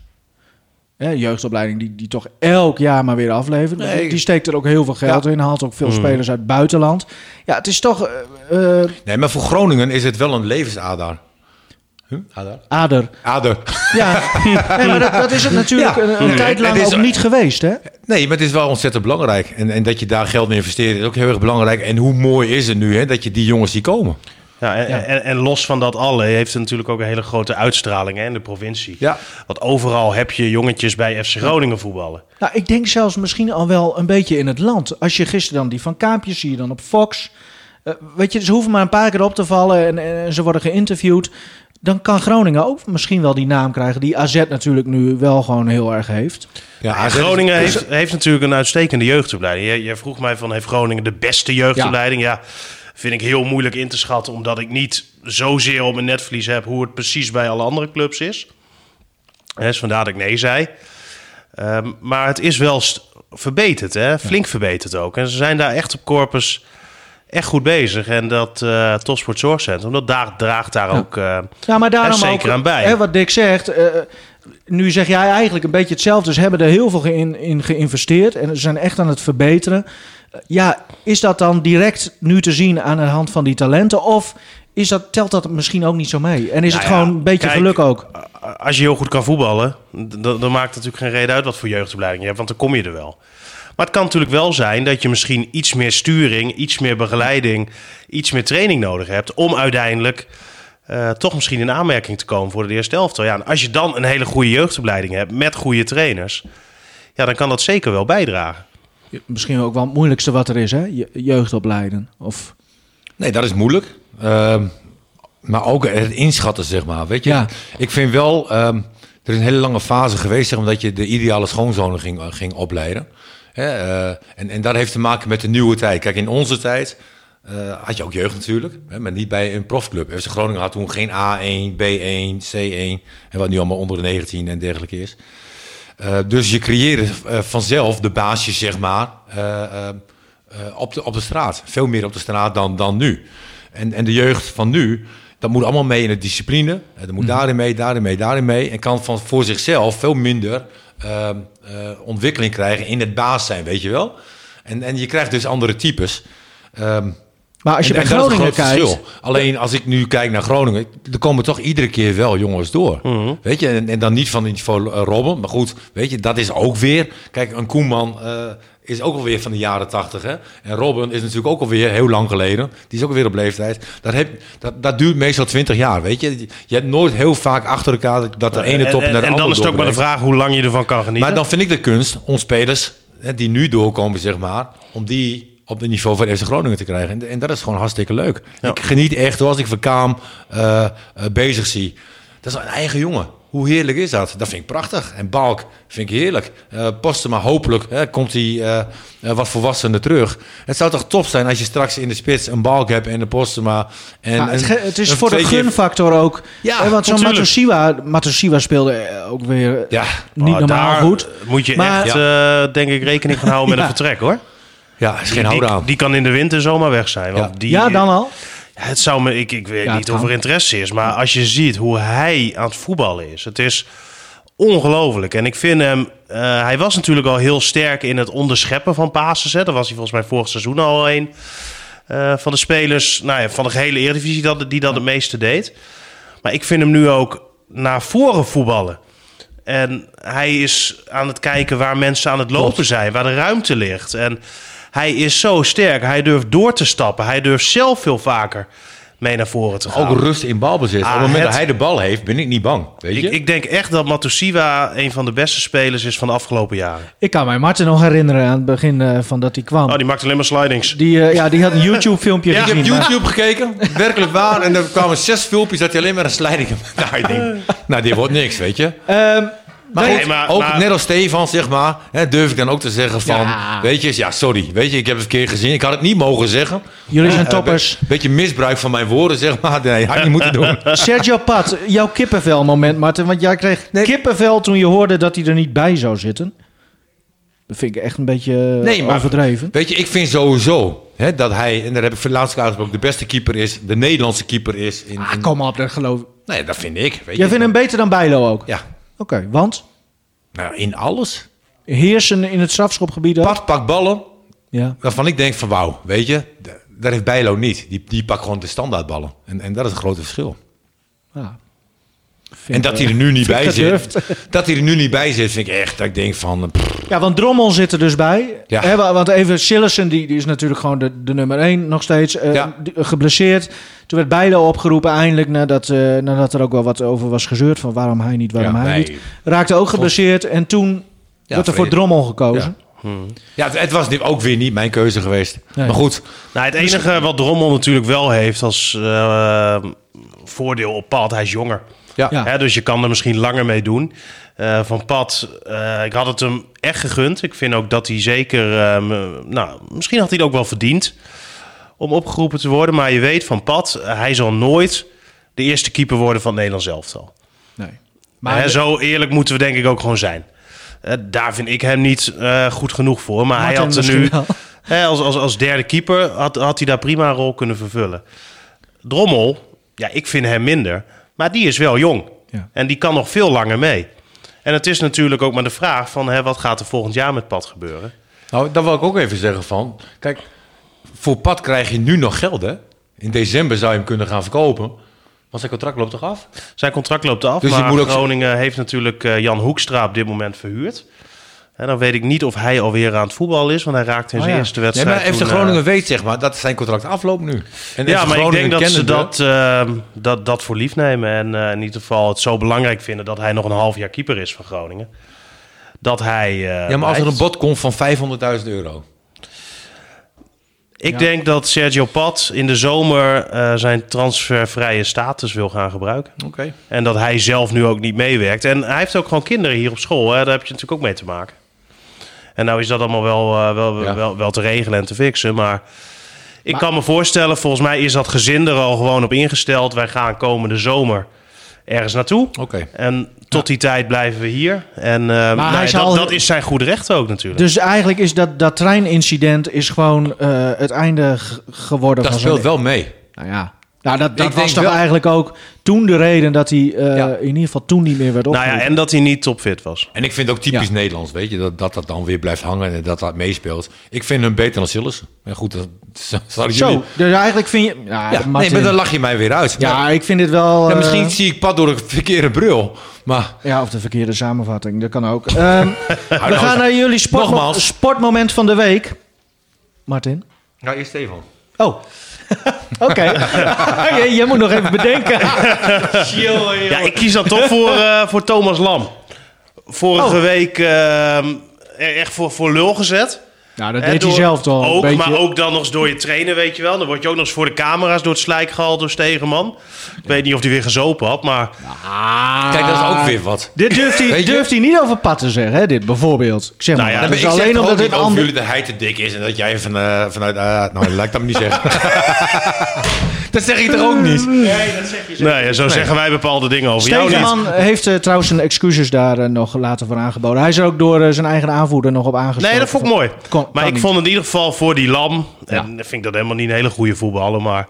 Speaker 2: Hè, jeugdopleiding die, die toch elk jaar maar weer aflevert.
Speaker 3: Nee.
Speaker 2: Die- Die steekt er ook heel veel geld in, haalt ook veel spelers uit het buitenland. Ja, het is toch eh, eh,
Speaker 3: nee, maar voor Groningen is het wel een levensader. Huh? Ader?
Speaker 2: ader.
Speaker 3: Ader.
Speaker 2: Ja, nee, maar dat, dat is het natuurlijk
Speaker 3: Ja.
Speaker 2: een, een
Speaker 3: Nee,
Speaker 2: tijd lang
Speaker 3: het is-
Speaker 2: ook niet geweest, hè?
Speaker 3: Nee, maar het is wel ontzettend belangrijk. En, en dat je daar geld in investeert is ook heel erg belangrijk. En hoe mooi is het nu hè, dat je die jongens die komen.
Speaker 4: Ja, en, En, en los van dat alle heeft het natuurlijk ook een hele grote uitstraling hè, in de provincie.
Speaker 3: Ja.
Speaker 4: Want overal heb je jongetjes bij FC Groningen voetballen.
Speaker 2: Nou, ik denk zelfs misschien al wel een beetje in het land. Als je gisteren dan die van Kaampje zie je dan op Fox. Eh, weet je, ze hoeven maar een paar keer op te vallen en, en, en ze worden geïnterviewd. Dan kan Groningen ook misschien wel die naam krijgen die AZ natuurlijk nu wel gewoon heel erg heeft.
Speaker 3: Ja,
Speaker 4: En
Speaker 3: AZ is-
Speaker 4: Groningen heeft, heeft natuurlijk een uitstekende jeugdopleiding. Jij, jij vroeg mij van, heeft Groningen de beste jeugdopleiding? Ja. vind ik heel moeilijk in te schatten, omdat ik niet zozeer op mijn netvlies heb hoe het precies bij alle andere clubs is. Hè, Dus vandaar dat ik nee zei. Ehm, maar het is wel st- verbeterd, hè? flink verbeterd ook. En ze zijn daar echt op corpus echt goed bezig. En dat eh Topsport Zorgcentrum, dat daar, draagt daar ook... eh,
Speaker 2: Ja, maar daarom
Speaker 4: En zeker
Speaker 2: ook,
Speaker 4: aan bij.
Speaker 2: Hè, wat Dick zegt, eh, nu zeg jij eigenlijk een beetje hetzelfde. Ze hebben er heel veel in, in geïnvesteerd en ze zijn echt aan het verbeteren. Eh, ja, is dat dan direct nu te zien aan de hand van die talenten? Of is dat, telt dat misschien ook niet zo mee? En is
Speaker 4: Nou
Speaker 2: het
Speaker 4: ja,
Speaker 2: gewoon een beetje
Speaker 4: kijk,
Speaker 2: geluk ook?
Speaker 4: a- Als je heel goed kan voetballen, d- dan dan maakt het natuurlijk geen reden uit wat voor jeugdopleiding je hebt, want dan kom je er wel. Maar het kan natuurlijk wel zijn dat je misschien iets meer sturing, iets meer begeleiding, iets meer training nodig hebt om uiteindelijk eh, toch misschien in aanmerking te komen voor de eerste elftal. Ja, en als je dan een hele goede jeugdopleiding hebt met goede trainers, ja, dan kan dat zeker wel bijdragen.
Speaker 2: Misschien ook wel het moeilijkste wat er is, hè? Je- Jeugd opleiden. Of,
Speaker 3: Nee, dat is moeilijk. Ehm, maar ook het inschatten, zeg maar. Weet je?
Speaker 2: Ja.
Speaker 3: Ik vind wel, ehm, er is een hele lange fase geweest... Zeg, omdat je de ideale schoonzonen ging, eh, ging opleiden. Hè, eh, en, en dat heeft te maken met de nieuwe tijd. Kijk, in onze tijd eh, had je ook jeugd natuurlijk. Hè, maar niet bij een profclub. FC Groningen had toen geen A1, B1, C1. En wat nu allemaal onder de 19 en dergelijke is. Eh, dus je creëert eh, vanzelf de baasjes, zeg maar, eh, eh, eh, op, de, op de straat. Veel meer op de straat dan, dan nu. En, en de jeugd van nu, dat moet allemaal mee in de discipline. Eh, dat moet daarin mee, daarin mee, daarin mee. En kan van, voor zichzelf veel minder eh, eh, ontwikkeling krijgen in het baas zijn, weet je wel. En, en je krijgt dus andere types. Ehm,
Speaker 2: maar als je
Speaker 3: en-
Speaker 2: bij
Speaker 3: en dat is
Speaker 2: Groningen
Speaker 3: een groot
Speaker 2: kijkt...
Speaker 3: verschil. Alleen als ik nu kijk naar Groningen, er komen toch iedere keer wel jongens door.
Speaker 4: Mhm.
Speaker 3: Weet je, en, en dan niet van het niveau eh, Robben, maar goed, weet je, dat is ook weer. Kijk, een Koeman eh, is ook alweer van de jaren tachtig. En Robben is natuurlijk ook alweer heel lang geleden. Die is ook alweer op leeftijd. Dat, heb, dat, dat duurt meestal twintig jaar, weet je. Je hebt nooit heel vaak achter elkaar dat- dat de ene top
Speaker 4: en,
Speaker 3: naar de andere
Speaker 4: en dan is het ook maar de
Speaker 3: doorbreekt.
Speaker 4: vraag hoe lang je ervan kan genieten.
Speaker 3: Maar dan vind ik de kunst om spelers hè, die nu doorkomen, zeg maar, om die op het niveau van FC Groningen te krijgen. En, en dat is gewoon hartstikke leuk.
Speaker 4: Ja.
Speaker 3: Ik geniet echt hoor, als ik Van Kaam eh, eh, bezig zie. Dat is een eigen jongen. Hoe heerlijk is dat? Dat vind ik prachtig. En Balk vind ik heerlijk. Eh Postema, hopelijk hè, komt hij eh, eh, wat volwassener terug. Het zou toch top zijn als je straks in de spits een Balk hebt en een Postema. En,
Speaker 2: Ja, Nou, het,
Speaker 3: een-
Speaker 2: ge- het is
Speaker 3: een
Speaker 2: voor de
Speaker 3: twee keer-
Speaker 2: gunfactor ook.
Speaker 3: Ja,
Speaker 2: Eh, want zo'n
Speaker 4: natuurlijk.
Speaker 2: Matosiwa, Matosiwa speelde eh, ook weer eh,
Speaker 3: Ja.
Speaker 2: niet
Speaker 4: Oh,
Speaker 2: normaal
Speaker 4: daar
Speaker 2: goed.
Speaker 4: Moet je
Speaker 2: Maar-
Speaker 4: echt, eh, denk ik, rekening gaan
Speaker 2: [LAUGHS]
Speaker 4: houden met een vertrek hoor.
Speaker 3: Ja, is geen
Speaker 4: die,
Speaker 3: houden
Speaker 4: die,
Speaker 3: aan.
Speaker 4: die kan in de winter zomaar weg zijn. Want
Speaker 3: Ja.
Speaker 4: Die,
Speaker 2: Ja, dan al.
Speaker 4: Het zou me, ik, ik weet
Speaker 2: Ja,
Speaker 4: niet
Speaker 2: het
Speaker 4: of er
Speaker 2: kan.
Speaker 4: interesse is, maar als je ziet hoe hij aan het voetballen is, het is ongelooflijk. En ik vind hem, eh, hij was natuurlijk al heel sterk in het onderscheppen van passes. Hè. Daar was hij volgens mij vorig seizoen al een eh, van de spelers, nou ja, van de gehele Eredivisie dat, die dat het meeste deed. Maar ik vind hem nu ook naar voren voetballen. En hij is aan het kijken waar mensen aan het lopen zijn, waar de ruimte ligt. En hij is zo sterk. Hij durft door te stappen. Hij durft zelf veel vaker mee naar voren te gaan.
Speaker 3: Ook rust in balbezit.
Speaker 4: Ah,
Speaker 3: Op het moment dat
Speaker 4: het-
Speaker 3: hij de bal heeft, ben ik niet bang. Weet je?
Speaker 4: ik, ik denk echt dat Matusiwa een van de beste spelers is van de afgelopen jaren.
Speaker 2: Ik kan mij Martin nog herinneren aan het begin eh, van dat hij kwam.
Speaker 4: Oh, die maakt alleen maar slidings.
Speaker 2: die, eh, ja, die
Speaker 3: [LAUGHS]
Speaker 2: had een YouTube-filmpje
Speaker 4: Ja, ik
Speaker 2: gezien.
Speaker 3: heb
Speaker 2: maar-
Speaker 3: YouTube gekeken, werkelijk waar. En er kwamen zes filmpjes dat hij alleen maar een slijding nou, ik denk, [LAUGHS] nou, dit wordt niks, weet je.
Speaker 2: Ehm,
Speaker 3: Maar,
Speaker 4: Nee,
Speaker 3: goed,
Speaker 4: maar-
Speaker 3: ook
Speaker 4: maar-
Speaker 3: net als Stefan, zeg maar, hè, durf ik dan ook te zeggen van...
Speaker 2: Ja.
Speaker 3: Weet je, ja, sorry, weet je, ik heb het verkeerd gezien. Ik had het niet mogen zeggen.
Speaker 2: jullie zijn
Speaker 3: Eh,
Speaker 2: toppers.
Speaker 3: be- beetje misbruik van mijn woorden, zeg maar. [LAUGHS] Nee, had ik niet moeten doen.
Speaker 2: Sergio Pat, jouw kippenvel moment, Martin. Want jij kreeg kippenvel toen je hoorde dat hij er niet bij zou zitten. Dat vind ik echt een beetje eh,
Speaker 3: Nee, maar-
Speaker 2: overdreven.
Speaker 3: Weet je, ik vind sowieso hè, dat hij, en daar heb ik voor laatst ook uitgesproken, de beste keeper is, de Nederlandse keeper is. In,
Speaker 2: Ah,
Speaker 3: in-
Speaker 2: kom op, dat geloof ik.
Speaker 3: nee, dat vind ik. Weet
Speaker 2: Jij
Speaker 3: je.
Speaker 2: vindt hem beter dan Bijlo ook?
Speaker 3: Ja,
Speaker 2: Oké, want
Speaker 3: nou, in alles.
Speaker 2: heersen in het strafschopgebied ook?
Speaker 3: Pat pakt ballen
Speaker 2: Ja.
Speaker 3: waarvan ik denk van wauw, weet je, d- daar heeft Bijlo niet. Die, die pakt gewoon de standaardballen. En, en dat is een grote verschil.
Speaker 2: ja.
Speaker 3: en dat hij er nu niet
Speaker 2: Ah. vind eh,
Speaker 3: bij
Speaker 2: ik
Speaker 3: zit.
Speaker 2: gedurfd.
Speaker 3: Dat hij er nu niet bij zit, vind ik echt. Dat ik denk van. eh, pff,
Speaker 2: Ja, want Drommel zit er dus bij.
Speaker 3: Ja.
Speaker 2: Hè, wa- want even Sillessen, die, die is natuurlijk gewoon de, de nummer één nog steeds. eh,
Speaker 3: Ja.
Speaker 2: die- eh, geblesseerd. Toen werd Bijlo opgeroepen eindelijk, nadat, eh, nadat er ook wel wat over was gezeurd. Van waarom hij niet, waarom
Speaker 3: Ja,
Speaker 2: hij
Speaker 3: nee.
Speaker 2: niet. Raakte ook geblesseerd en toen werd er voor
Speaker 3: vreemd.
Speaker 2: Drommel gekozen.
Speaker 3: ja, het, het was ook weer niet mijn keuze geweest.
Speaker 2: Nee.
Speaker 3: Maar goed,
Speaker 4: Nou, het enige wat Drommel natuurlijk wel heeft als eh, voordeel op pad, hij is jonger.
Speaker 3: ja.
Speaker 2: Ja.
Speaker 4: Hè, dus je kan er misschien langer mee doen. Eh, van Pat, eh, ik had het hem echt gegund. Ik vind ook dat hij zeker... eh, m- nou, misschien had hij het ook wel verdiend om opgeroepen te worden. Maar je weet van Pat, eh, hij zal nooit de eerste keeper worden van het Nederlands elftal.
Speaker 2: Nee.
Speaker 4: Maar
Speaker 2: Maar
Speaker 4: zo eerlijk moeten we denk ik ook gewoon zijn. Eh, daar vind ik hem niet eh, goed genoeg voor. Maar hij
Speaker 2: Martin
Speaker 4: had er
Speaker 2: misschien
Speaker 4: nu...
Speaker 2: wel.
Speaker 4: [LAUGHS] Hè, als, als, als derde keeper had, had hij daar prima een rol kunnen vervullen. Drommel, ja, ik vind hem minder. Maar die is wel jong.
Speaker 2: Ja.
Speaker 4: En die kan nog veel langer mee. En het is natuurlijk ook maar de vraag van... Hè, wat gaat er volgend jaar met Pat gebeuren?
Speaker 3: Nou, daar wil ik ook even zeggen van. Kijk, voor Pat krijg je nu nog geld, hè? In december zou je hem kunnen gaan verkopen. Want zijn contract loopt toch af?
Speaker 4: Zijn contract loopt af,
Speaker 3: Dus je
Speaker 4: maar
Speaker 3: moet ook-
Speaker 4: Groningen heeft natuurlijk eh, Jan Hoekstra op dit moment verhuurd. En dan weet ik niet of hij alweer aan het voetbal is, want hij raakte in
Speaker 2: Oh
Speaker 4: zijn
Speaker 2: ja.
Speaker 4: eerste
Speaker 3: Nee,
Speaker 4: wedstrijd.
Speaker 3: maar FC
Speaker 4: toen, eh,
Speaker 3: Groningen weet zeg maar dat zijn contract afloopt nu. En
Speaker 4: ja,
Speaker 3: FC
Speaker 4: maar ik
Speaker 3: Groningen
Speaker 4: denk dat ze
Speaker 3: kennende-
Speaker 4: dat, eh, dat, dat voor lief nemen. En eh, in ieder geval het zo belangrijk vinden dat hij nog een half jaar keeper is van Groningen. Dat hij. eh,
Speaker 3: Ja, maar als er een
Speaker 4: blijft.
Speaker 3: bod komt van 500.000 euro.
Speaker 4: Ik denk dat Sergio Pat in de zomer eh, zijn transfervrije status wil gaan gebruiken.
Speaker 3: Oké.
Speaker 4: En dat hij zelf nu ook niet meewerkt. En hij heeft ook gewoon kinderen hier op school. Hè? Daar heb je natuurlijk ook mee te maken. En nou is dat allemaal wel, eh, wel,
Speaker 3: Ja.
Speaker 4: wel, wel te regelen en te fixen. Maar ik kan me voorstellen, volgens mij is dat gezin er al gewoon op ingesteld. Wij gaan komende zomer ergens naartoe.
Speaker 3: Oké.
Speaker 4: En tot die tijd blijven we hier. En eh, nou
Speaker 2: hij
Speaker 4: ja,
Speaker 2: zal-
Speaker 4: dat, dat is zijn goede recht ook natuurlijk.
Speaker 2: Dus eigenlijk is dat, dat treinincident is gewoon eh, het einde g- geworden
Speaker 3: Dat
Speaker 2: van
Speaker 3: speelt
Speaker 2: zo'n
Speaker 3: wel mee.
Speaker 2: Nou ja, nou, dat, dat
Speaker 3: Ik
Speaker 2: was
Speaker 3: denk
Speaker 2: toch
Speaker 3: wel-
Speaker 2: eigenlijk ook toen de reden dat hij eh,
Speaker 3: Ja.
Speaker 2: in ieder geval toen niet meer werd
Speaker 4: nou ja,
Speaker 2: opgeroepen.
Speaker 4: en dat hij niet topfit was.
Speaker 3: En ik vind het ook typisch
Speaker 2: Ja.
Speaker 3: Nederlands, weet je, dat, dat dat dan weer blijft hangen en dat dat meespeelt. Ik vind hem beter dan Sillessen. Maar goed, dat [LAUGHS] zal jullie...
Speaker 2: Zo, dus eigenlijk vind je... Ja,
Speaker 3: Ja, nee,
Speaker 2: Martin.
Speaker 3: maar dan lach je mij weer uit.
Speaker 2: ja ik vind dit wel...
Speaker 3: Ja,
Speaker 2: eh,
Speaker 3: misschien zie ik pad door een verkeerde bril. Maar
Speaker 2: ja, of de verkeerde samenvatting, dat kan ook. Ehm, we
Speaker 3: nou,
Speaker 2: gaan naar jullie sportmo-
Speaker 3: nogmaals.
Speaker 2: sportmoment van de week. Martin?
Speaker 3: nou, eerst Stefan.
Speaker 2: Oh. [LAUGHS] Oké.
Speaker 4: [LAUGHS]
Speaker 2: Jij- Jij moet nog even bedenken.
Speaker 4: Ja, ik kies dan toch
Speaker 2: [LAUGHS]
Speaker 4: voor, eh, voor Thomas Lam. Vorige
Speaker 2: Oh.
Speaker 4: week eh, er echt voor, voor lul gezet.
Speaker 2: Nou, dat
Speaker 4: Hè,
Speaker 2: deed hij
Speaker 4: door-
Speaker 2: zelf toch al
Speaker 4: Ook,
Speaker 2: een beetje.
Speaker 4: maar ook dan nog eens door je trainer, weet je wel. Dan word je ook nog eens voor de camera's door het slijk gehaald door Stegenman. Ik weet niet of hij weer gezopen had, maar...
Speaker 3: Kijk, dat is ook weer wat.
Speaker 2: Dit durft hij,
Speaker 3: Weet je?
Speaker 2: durft hij niet over Pat te zeggen, hè, dit bijvoorbeeld. Ik zeg
Speaker 4: Nou
Speaker 2: maar,
Speaker 4: ja,
Speaker 2: dat
Speaker 3: Maar
Speaker 2: is
Speaker 3: ik zeg
Speaker 2: alleen
Speaker 3: toch
Speaker 2: omdat
Speaker 3: ook
Speaker 2: dit
Speaker 3: niet over
Speaker 2: ander...
Speaker 3: jullie dat hij te dik is en dat jij van, eh, vanuit... eh, nou, laat ik dat maar niet zeggen. dat zeg ik toch ook niet?
Speaker 4: Nee, zo zeggen wij bepaalde dingen over jou niet.
Speaker 2: Stegeman heeft eh, trouwens zijn excuses daar eh, nog later voor aangeboden. Hij is er ook door eh, zijn eigen aanvoerder nog op aangesproken.
Speaker 4: Nee, dat vond ik mooi.
Speaker 2: Kon-
Speaker 4: maar
Speaker 2: kan
Speaker 4: ik
Speaker 2: niet.
Speaker 4: vond in ieder geval voor die Lam...
Speaker 2: Ja.
Speaker 4: En vind ik dat helemaal niet een hele goede voetballer, maar...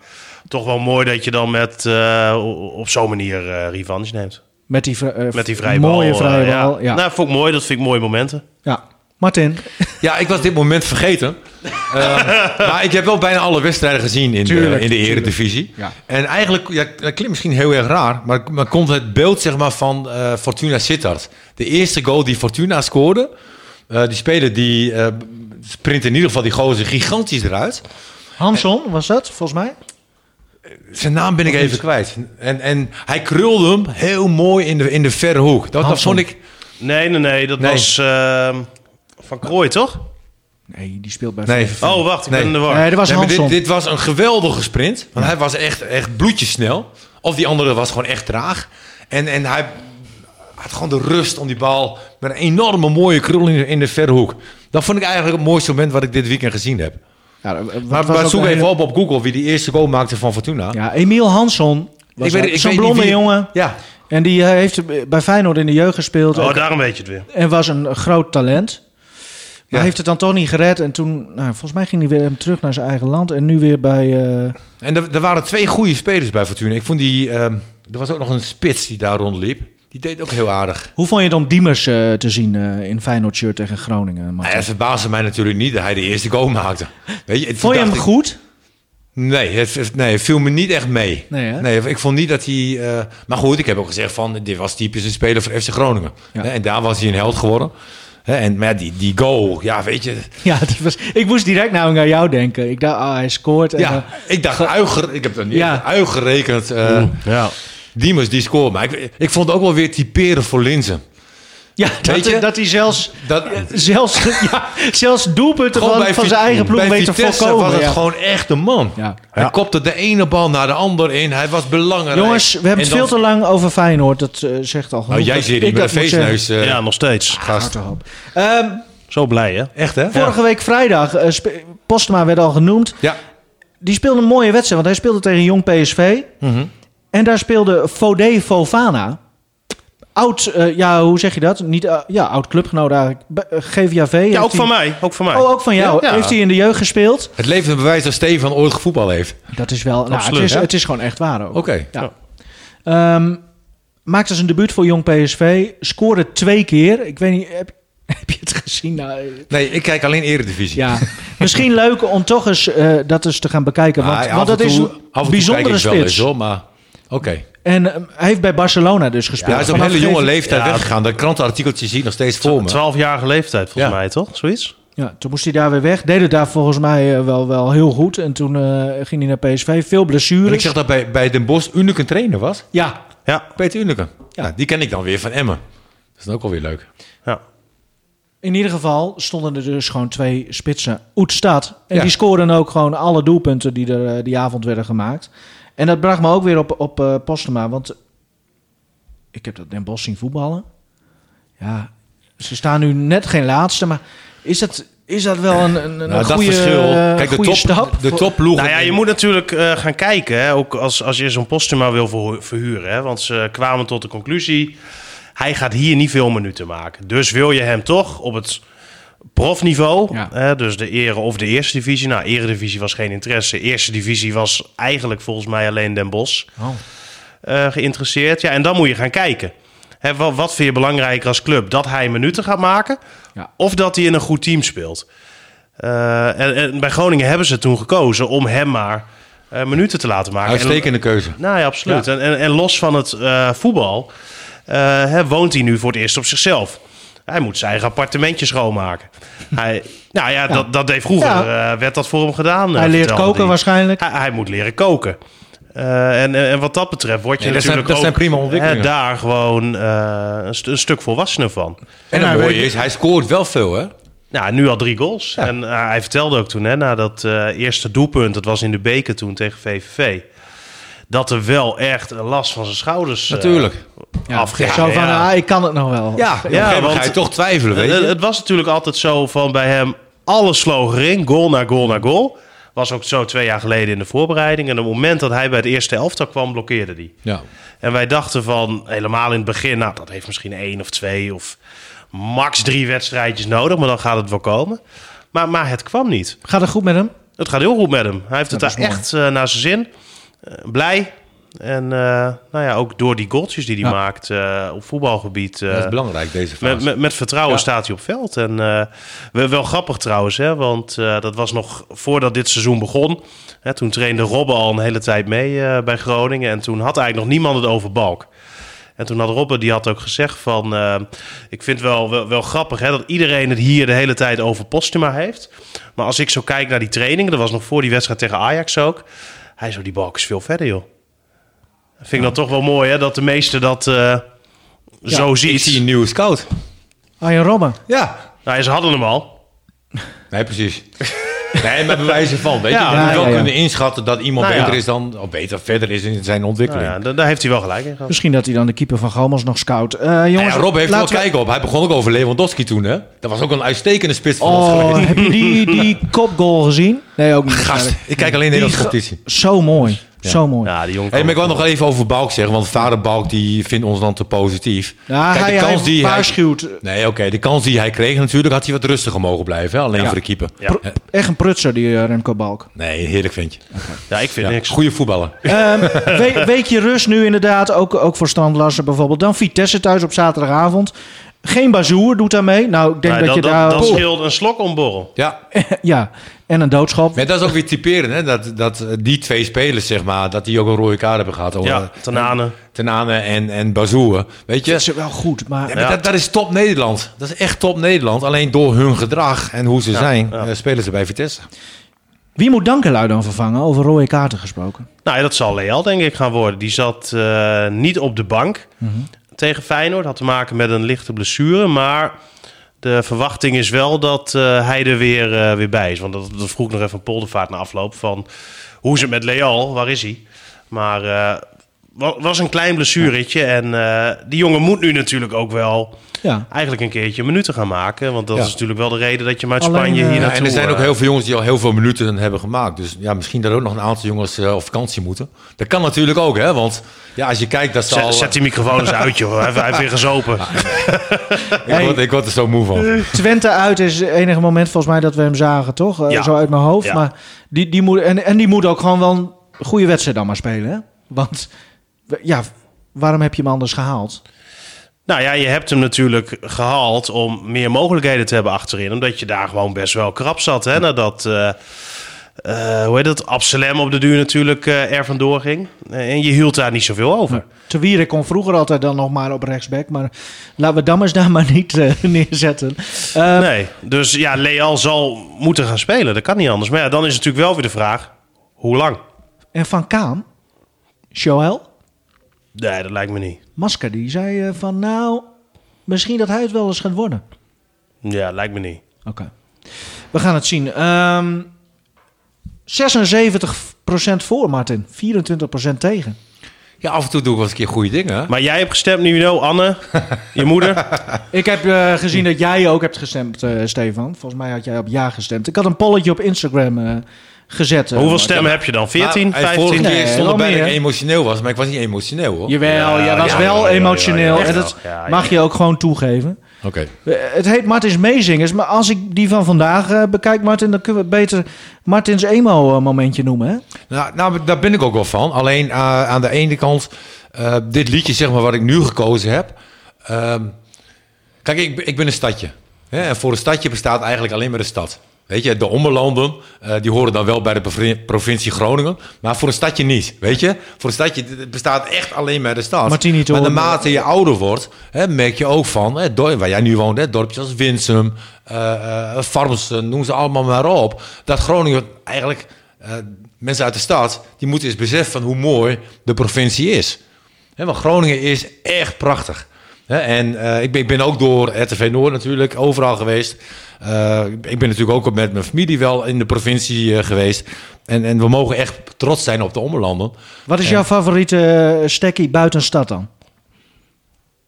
Speaker 4: Toch wel mooi dat je dan met, eh, op zo'n manier eh, revanche neemt.
Speaker 2: Met die, vri- eh,
Speaker 4: Met die vrije bal.
Speaker 2: mooie vrije
Speaker 4: eh,
Speaker 2: bal. ja.
Speaker 4: ja. Nou, vond ik mooi. Dat vind ik mooie momenten.
Speaker 2: Ja. Martin,
Speaker 3: Ja, ik was dit moment
Speaker 2: [LAUGHS]
Speaker 3: vergeten. Eh, maar ik heb wel bijna alle wedstrijden gezien in,
Speaker 2: Tuurlijk,
Speaker 3: de, in de eredivisie.
Speaker 2: tuurlijk,
Speaker 3: En eigenlijk, ja, dat klinkt misschien heel erg raar... maar, maar komt het beeld zeg maar, van eh, Fortuna Sittard. De eerste goal die Fortuna scoorde... eh, die speler die eh, sprint in ieder geval die gozer gigantisch eruit...
Speaker 2: Hanson was dat volgens mij?
Speaker 3: Zijn naam ben ik even kwijt. En, en hij krulde hem heel mooi in de, in de verre hoek. Dat, dat
Speaker 2: Hansom.
Speaker 3: vond ik...
Speaker 4: Nee, nee, nee. Dat
Speaker 3: Nee.
Speaker 4: was ehm, Van Krooi, toch?
Speaker 2: Nee, die speelt bij
Speaker 3: Nee,
Speaker 2: VVV.
Speaker 4: Oh, wacht. Ik
Speaker 3: Nee.
Speaker 4: ben in de war.
Speaker 2: Nee, dat was
Speaker 3: Nee, maar
Speaker 2: Hanson.
Speaker 3: dit, dit was een geweldige sprint. Want hij was echt, echt bloedjesnel. Of die andere was gewoon echt traag. En, en hij had gewoon de rust om die bal met een enorme mooie krul in de, in de verre hoek. Dat vond ik eigenlijk het mooiste moment wat ik dit weekend gezien heb.
Speaker 2: Ja, wat
Speaker 3: Maar,
Speaker 2: was
Speaker 3: maar
Speaker 2: ook
Speaker 3: zoek
Speaker 2: een
Speaker 3: even
Speaker 2: hele-
Speaker 3: op op Google wie die eerste goal maakte van Fortuna.
Speaker 2: Ja, Emiel Hansson. Was
Speaker 3: weet-
Speaker 2: Zo'n
Speaker 3: weet niet
Speaker 2: blonde
Speaker 3: wie-
Speaker 2: jongen.
Speaker 3: Ja,
Speaker 2: En die eh, heeft bij Feyenoord in de jeugd gespeeld.
Speaker 4: Oh,
Speaker 2: ook-
Speaker 4: daarom weet je het weer.
Speaker 2: En was een groot talent. Maar
Speaker 3: Ja.
Speaker 2: heeft het dan toch niet gered. En toen, nou, volgens mij ging hij weer hem terug naar zijn eigen land. En nu weer bij... eh,
Speaker 3: en er, er waren twee goede spelers bij Fortuna. Ik vond die... ehm, er was ook nog een spits die daar rondliep. Die deed ook heel aardig.
Speaker 2: Hoe vond je het om Diemers eh, te zien eh, in Feyenoord shirt tegen Groningen? Martin?
Speaker 3: Maar het verbaasde mij natuurlijk niet dat hij de eerste goal maakte. Weet je, toen
Speaker 2: vond je hem
Speaker 3: dacht ik-
Speaker 2: goed?
Speaker 3: Nee, het, het- nee, het viel me niet echt mee.
Speaker 2: Nee, hè?
Speaker 3: ik vond niet dat hij... eh, maar goed, ik heb ook gezegd van... Dit was typisch een speler voor FC Groningen.
Speaker 2: Ja.
Speaker 3: Hè, En daar was hij een held geworden. Hè, En maar ja, die, die goal, ja, weet je...
Speaker 2: Ja, dat was, ik moest direct namelijk aan jou denken. Ik dacht, ah, hij scoort. En,
Speaker 3: Ja,
Speaker 2: eh,
Speaker 3: ik dacht, uiger, ik heb dat niet
Speaker 2: Ja.
Speaker 3: uitgerekend. eh
Speaker 4: Ja.
Speaker 3: Diemers, die scoort. Maar ik, ik vond het ook wel weer typeren voor Linzen.
Speaker 2: ja
Speaker 3: Weet
Speaker 2: dat,
Speaker 3: je?
Speaker 2: dat hij zelfs,
Speaker 3: Dat,
Speaker 2: zelfs, [LAUGHS] ja, zelfs doelpunten van, van
Speaker 3: Vit-
Speaker 2: zijn eigen ploeg
Speaker 3: bij
Speaker 2: weet te
Speaker 3: Vitesse
Speaker 2: voorkomen.
Speaker 3: was het
Speaker 2: ja.
Speaker 3: gewoon echt een man.
Speaker 2: Ja.
Speaker 3: Hij kopte de ene bal naar de ander in. Hij was belangrijk.
Speaker 2: Jongens, we hebben
Speaker 3: En
Speaker 2: het
Speaker 3: dan-
Speaker 2: veel te lang over Feyenoord. Dat eh, zegt al
Speaker 3: Nou,
Speaker 2: genoeg.
Speaker 3: jij
Speaker 2: Dat
Speaker 3: zit
Speaker 2: ik
Speaker 3: hier met een
Speaker 2: dat moet zeggen.
Speaker 3: feestneus, eh,
Speaker 4: ja, nog steeds.
Speaker 3: gast.
Speaker 2: Achterhoop. Ehm,
Speaker 4: Zo blij, hè?
Speaker 3: Echt, hè?
Speaker 2: vorige week vrijdag, eh, spe- Postma werd al genoemd.
Speaker 3: Ja.
Speaker 2: Die speelde een mooie wedstrijd, want hij speelde tegen Jong PSV.
Speaker 3: Mhm.
Speaker 2: En daar speelde Fodé Fofana. Oud, eh, ja, hoe zeg je dat? Niet, eh, ja, oud clubgenoot eigenlijk. Be- eh, GVAV.
Speaker 4: Ja,
Speaker 2: heeft
Speaker 4: ook van
Speaker 2: hij-
Speaker 4: mij. Ook van mij.
Speaker 2: Oh, ook van jou.
Speaker 3: Ja, ja.
Speaker 2: Heeft hij in de jeugd gespeeld?
Speaker 3: Het levert een bewijs dat Stefan ooit gevoetbal heeft.
Speaker 2: Dat is wel... nou,
Speaker 4: Absoluut,
Speaker 2: het, is,
Speaker 4: hè?
Speaker 2: het is gewoon echt waar ook.
Speaker 3: Oké.
Speaker 2: Ja. Ehm, maakte zijn debuut voor Jong PSV. Scoorde twee keer. Ik weet niet, heb, [LAUGHS] heb je het gezien? Nou,
Speaker 3: [LAUGHS]
Speaker 2: eh,
Speaker 3: Nee, ik kijk alleen Eredivisie.
Speaker 2: ja. Misschien leuk om toch eens eh, dat eens te gaan bekijken.
Speaker 3: Maar
Speaker 2: Want,
Speaker 3: Ah, af
Speaker 2: want
Speaker 3: en
Speaker 2: dat is
Speaker 3: toe-
Speaker 2: een
Speaker 3: af en toe kijk
Speaker 2: bijzondere
Speaker 3: ik wel
Speaker 2: spits.
Speaker 3: eens, hoor, maar oké.
Speaker 2: En ehm, hij heeft bij Barcelona dus gespeeld.
Speaker 3: Ja, hij is op een
Speaker 2: Vanaf
Speaker 3: hele jonge
Speaker 2: gegeven-
Speaker 3: leeftijd
Speaker 4: Ja.
Speaker 3: weggegaan. Dat krantenartikeltje zie ik nog steeds voor me.
Speaker 4: 12-jarige leeftijd, volgens
Speaker 3: Ja.
Speaker 4: mij, toch? Zoiets?
Speaker 2: Ja, toen moest hij daar weer weg. Deed het daar volgens mij eh, wel, wel heel goed. En toen eh, ging hij naar PSV. Veel
Speaker 3: En
Speaker 2: blessures.
Speaker 3: ik zeg dat bij, bij Den Bosch Unicum trainer was.
Speaker 2: Ja,
Speaker 4: Ja.
Speaker 3: Peter Unicum. Ja. die ken ik dan weer van Emmen. Dat is dan ook alweer leuk.
Speaker 4: Nou ja.
Speaker 2: in ieder geval stonden er dus gewoon twee spitsen. Oetstad. En
Speaker 3: Ja.
Speaker 2: die scoorden ook gewoon alle doelpunten die er eh, die avond werden gemaakt. En dat bracht me ook weer op, op eh, Postema. Want ik heb dat Den Bosch zien voetballen. Ja, ze staan nu net geen laatste. Maar is dat, is dat wel een, een, een
Speaker 3: Nou, dat
Speaker 2: goede,
Speaker 3: verschil.
Speaker 2: eh,
Speaker 3: Kijk, de,
Speaker 2: goede
Speaker 3: top,
Speaker 2: stap?
Speaker 3: de
Speaker 2: Voor-
Speaker 3: topploegen.
Speaker 4: Nou ja, je moet natuurlijk eh, gaan kijken, hè? ook als, als je zo'n Postuma wil verho- verhuren. Hè? Want ze kwamen tot de conclusie, hij gaat hier niet veel minuten maken. Dus wil je hem toch op het profniveau,
Speaker 2: Ja.
Speaker 4: hè? dus de ere of de eerste divisie. Nou, eredivisie was geen interesse. Eerste divisie was eigenlijk volgens mij alleen Den Bosch
Speaker 2: Oh.
Speaker 4: eh, geïnteresseerd. Ja, en dan moet je gaan kijken. Hè, wat, wat vind je belangrijker als club? Dat hij minuten gaat maken
Speaker 2: Ja.
Speaker 4: of dat hij in een goed team speelt? Eh, en, en bij Groningen hebben ze toen gekozen om hem maar eh, minuten te laten maken.
Speaker 3: Uitstekende keuze.
Speaker 4: En, nou ja, absoluut. En, en, en los van het eh, voetbal eh, hè, woont hij nu voor het eerst op zichzelf. Hij moet zijn eigen
Speaker 2: [LAUGHS]
Speaker 4: appartementje schoonmaken. Hij, nou ja, Dat, dat deed vroeger.
Speaker 2: Ja.
Speaker 4: eh, werd dat voor hem gedaan. eh,
Speaker 2: Hij leert
Speaker 4: vertelde
Speaker 2: koken
Speaker 4: hij.
Speaker 2: waarschijnlijk.
Speaker 4: Hij, hij moet leren koken. Eh, en, en en wat dat betreft word je
Speaker 3: Nee, dat zijn-
Speaker 4: natuurlijk
Speaker 3: dat zijn
Speaker 4: ook,
Speaker 3: prima ontwikkelingen.
Speaker 4: hè, daar gewoon eh, een, st- een stuk volwassener van.
Speaker 3: En
Speaker 2: Nou,
Speaker 3: het mooie
Speaker 2: weet-
Speaker 3: is, hij scoort wel veel, hè?
Speaker 4: Nou, nu al drie goals. En eh, hij vertelde ook toen, hè, na dat eh, eerste doelpunt, dat was in de beker toen tegen VVV, dat er wel echt een last van zijn schouders eh,
Speaker 3: Natuurlijk.
Speaker 2: Ja,
Speaker 4: afging.
Speaker 2: zo van,
Speaker 4: Ja.
Speaker 2: ah, ik kan het nog wel.
Speaker 3: Ja, op een gegeven moment
Speaker 4: want-
Speaker 3: ga je toch twijfelen, weet
Speaker 2: Eh,
Speaker 4: Het,
Speaker 3: je?
Speaker 4: het was natuurlijk altijd zo van bij hem, alles sloeg erin, goal na goal na goal. Was ook zo twee jaar geleden in de voorbereiding. En op het moment dat hij bij het eerste elftal kwam, blokkeerde hij.
Speaker 3: Ja.
Speaker 4: En wij dachten van, helemaal in het begin, nou, dat heeft misschien één of twee of max drie wedstrijdjes nodig, maar dan gaat het wel komen. Maar, maar het kwam niet.
Speaker 2: Gaat het goed met hem?
Speaker 4: Het gaat heel goed met hem. Hij heeft het
Speaker 2: Dat
Speaker 4: daar
Speaker 2: is mooi.
Speaker 4: echt eh, naar zijn zin. Eh, blij. En eh, nou ja, ook door die goaltjes die hij
Speaker 2: Ja.
Speaker 4: maakt eh, op voetbalgebied. eh,
Speaker 3: Dat is belangrijk, deze fase.
Speaker 4: met, met, met vertrouwen
Speaker 3: Ja.
Speaker 4: staat hij op veld. En eh, wel, wel grappig trouwens, hè, want eh, dat was nog voordat dit seizoen begon. Hè, toen trainde Robben al een hele tijd mee eh, bij Groningen. En toen had eigenlijk nog niemand het over Balk. En toen had Robben, die had ook gezegd van... eh, ik vind het wel, wel, wel grappig hè, dat iedereen het hier de hele tijd over Postuma heeft. Maar als ik zo kijk naar die training... dat was nog voor die wedstrijd tegen Ajax ook... Hij zo, die balk is veel verder, joh. Vind ik dan toch wel mooi, hè? Dat de meeste dat eh, zo
Speaker 3: Is hij
Speaker 4: ziet.
Speaker 3: een nieuwe scout?
Speaker 2: Arjen Robben.
Speaker 3: Ja.
Speaker 4: Nou, ze hadden hem al.
Speaker 3: Nee, precies. [LAUGHS] Nee, maar bewijzen van. Weet je,
Speaker 4: Ja,
Speaker 3: je moet
Speaker 2: ja,
Speaker 3: wel
Speaker 2: ja.
Speaker 3: kunnen inschatten dat iemand
Speaker 4: Nou ja.
Speaker 3: beter is dan, of beter verder is in zijn
Speaker 4: Nou
Speaker 3: ontwikkeling.
Speaker 4: ja, da- daar heeft hij wel gelijk in gehad.
Speaker 2: Misschien dat hij dan de keeper van Gomas nog scout. Eh,
Speaker 3: Nou
Speaker 2: jongens,
Speaker 3: ja, Rob heeft wel
Speaker 2: laten we-
Speaker 3: kijk op. Hij begon ook over Lewandowski toen, hè? Dat was ook een uitstekende spits van ons
Speaker 2: Oh,
Speaker 3: geweest.
Speaker 2: heb je die,
Speaker 3: [LAUGHS]
Speaker 2: die kopgoal gezien? Nee, ook niet.
Speaker 3: Gast,
Speaker 2: waarschijnlijk.
Speaker 3: ik kijk alleen
Speaker 2: Die
Speaker 3: Nederlandse
Speaker 2: ge-
Speaker 3: competitie.
Speaker 2: Zo mooi. Zo mooi.
Speaker 4: Ja, die jongen.
Speaker 3: Hey, maar
Speaker 4: kan
Speaker 3: ik wil nog even over Balk zeggen, want vader Balk die vindt ons dan te positief.
Speaker 2: Ja,
Speaker 3: Kijk,
Speaker 2: hij,
Speaker 3: de kans
Speaker 2: hij
Speaker 3: die hij...
Speaker 2: waarschuwt.
Speaker 3: Nee, oké, de kans die hij kreeg natuurlijk, had hij wat rustiger mogen blijven, hè? alleen voor de keeper.
Speaker 4: Ja.
Speaker 2: Pr- Echt een prutser, die eh, Remco Balk.
Speaker 3: Nee, heerlijk ventje.
Speaker 4: Ja, ik vind
Speaker 3: Ja,
Speaker 4: niks.
Speaker 3: goede voetballer. [LAUGHS]
Speaker 2: Ehm, we- weekje rust nu inderdaad, ook, ook voor Stan Larsen bijvoorbeeld. Dan Vitesse thuis op zaterdagavond. Geen bazoer doet daarmee. Nou, ik denk
Speaker 4: Nou,
Speaker 2: dat,
Speaker 4: dat,
Speaker 2: je
Speaker 4: dat,
Speaker 2: daar...
Speaker 4: dat scheelt een slok omborrel.
Speaker 3: Ja,
Speaker 2: [LAUGHS] ja, en een doodschap.
Speaker 3: maar dat is ook weer typerend, hè? Dat, dat eh, die twee spelers, zeg maar, dat die ook een rode kaart hebben gehad. Oh,
Speaker 4: Ja,
Speaker 3: eh,
Speaker 4: Tanane.
Speaker 3: Tenane en, en Bazoer. Weet je,
Speaker 2: Dat is wel goed, maar...
Speaker 3: Ja, maar
Speaker 4: Ja.
Speaker 3: Dat, dat is top Nederland. Dat is echt top Nederland. Alleen door hun gedrag en hoe ze zijn, eh, spelen ze bij Vitesse.
Speaker 2: Wie moet Dankelui dan vervangen? Over rode kaarten gesproken.
Speaker 4: Nou ja, dat zal Leal denk ik gaan worden. Die zat eh, niet op de bank tegen Feyenoord. Had te maken met een lichte blessure. Maar de verwachting is wel dat eh, hij er weer, eh, weer bij is. Want dat, dat vroeg ik nog even een poldervaart na afloop. Van hoe is het met Leal? Waar is hij? Maar eh wa- was een klein blessuretje. En eh, die jongen moet nu natuurlijk ook wel
Speaker 2: Ja.
Speaker 4: eigenlijk een keertje minuten gaan maken. Want dat
Speaker 3: Ja.
Speaker 4: is natuurlijk wel de reden dat je hem uit
Speaker 2: Alleen,
Speaker 4: Spanje
Speaker 2: eh,
Speaker 4: hier
Speaker 2: Ja,
Speaker 3: Ja,
Speaker 4: naartoe...
Speaker 3: en er zijn ook
Speaker 4: eh,
Speaker 3: heel veel jongens die al heel veel minuten hebben gemaakt. Dus ja, misschien dat ook nog een aantal jongens eh, op vakantie moeten. Dat kan natuurlijk ook, hè? Want ja, als je kijkt, dat zal.
Speaker 4: Zet, zet die microfoon eens uit, joh. Hij, hij heeft weer gezopen.
Speaker 3: ik, word, ik word er zo moe van.
Speaker 2: Twente uit is het enige moment volgens mij dat we hem zagen, toch? Eh,
Speaker 4: Ja.
Speaker 2: Zo uit mijn hoofd.
Speaker 4: Ja.
Speaker 2: Maar die, die moet, en, en die moet ook gewoon wel een goede wedstrijd dan maar spelen. Hè? Want w- ja, waarom heb je hem anders gehaald?
Speaker 4: Nou ja, je hebt hem natuurlijk gehaald om meer mogelijkheden te hebben achterin. Omdat je daar gewoon best wel krap zat. Hè? Nadat, eh, eh, hoe heet dat, Absalem op de duur natuurlijk eh, er vandoor ging. Eh, en je hield daar niet zoveel over.
Speaker 2: Te Wierik kon vroeger altijd dan nog maar op rechtsback. Maar laten we Dammers daar maar niet eh, [LAUGHS] neerzetten. Eh,
Speaker 4: Nee, dus ja, Leal zal moeten gaan spelen. Dat kan niet anders. Maar ja, dan is natuurlijk wel weer de vraag, hoe lang?
Speaker 2: En Van Kaan, Joël,
Speaker 4: Nee, dat lijkt me niet.
Speaker 2: Masker, die zei eh, van nou, misschien dat hij het wel eens gaat worden.
Speaker 4: Ja, lijkt me niet.
Speaker 2: Oké. We gaan het zien. Ehm 76% voor, Martin. 24% tegen.
Speaker 3: Ja, af en toe doe ik wel eens een keer goede dingen. hè.
Speaker 4: Maar jij hebt gestemd, Nino, Anne, je
Speaker 3: [LAUGHS]
Speaker 4: moeder.
Speaker 2: Ik heb eh, gezien dat jij ook hebt gestemd, eh, Stefan. Volgens mij had jij op ja gestemd. Ik had een polletje op Instagram eh, gezet. eh,
Speaker 4: Hoeveel
Speaker 2: Martin.
Speaker 4: stemmen heb je dan?
Speaker 3: Maar
Speaker 4: 14,
Speaker 3: Nou, hij- Vorige
Speaker 4: 15?
Speaker 2: Nee,
Speaker 3: keer stond
Speaker 2: wel
Speaker 3: er bij dat
Speaker 2: meer.
Speaker 3: ik emotioneel was, maar ik was niet emotioneel hoor.
Speaker 2: Jawel,
Speaker 4: Ja,
Speaker 2: jij was
Speaker 4: ja,
Speaker 2: wel
Speaker 4: ja, ja, ja,
Speaker 2: emotioneel.
Speaker 4: ja, ja,
Speaker 2: en
Speaker 4: ja.
Speaker 2: dat
Speaker 4: Ja, ja,
Speaker 2: mag je ook gewoon toegeven.
Speaker 3: Oké.
Speaker 2: Eh, Het heet Martins Meezingers, maar als ik die van vandaag eh, bekijk, Martin, dan kunnen we beter Martins emo-momentje noemen. Hè?
Speaker 3: Nou, nou, daar ben ik ook wel van. Alleen eh, aan de ene kant, eh, dit liedje zeg maar wat ik nu gekozen heb. ehm, kijk, ik, ik ben een stadje. Hè? En voor een stadje bestaat eigenlijk alleen maar de stad. Weet je, de ommelanden, eh, die horen dan wel bij de provin- provincie Groningen. Maar voor een stadje niet, weet je. Voor een stadje d- het bestaat echt alleen maar de stad.
Speaker 2: Martini te
Speaker 3: maar
Speaker 2: horen.
Speaker 3: naarmate je ouder wordt, hè, merk je ook van... Hè, dor- waar jij nu woont, hè, dorpjes als Winsum, eh eh, Farmsen, noem ze allemaal maar op. Dat Groningen eigenlijk... eh, mensen uit de stad, die moeten eens beseffen van hoe mooi de provincie is. Hè, want Groningen is echt prachtig. Hè, en eh, ik, ben, ik ben ook door RTV Noord natuurlijk overal geweest. Eh, ik ben natuurlijk ook met mijn familie wel in de provincie eh, geweest. En, en we mogen echt trots zijn op de ommelanden.
Speaker 2: Wat is jouw favoriete eh, stekkie buiten stad dan?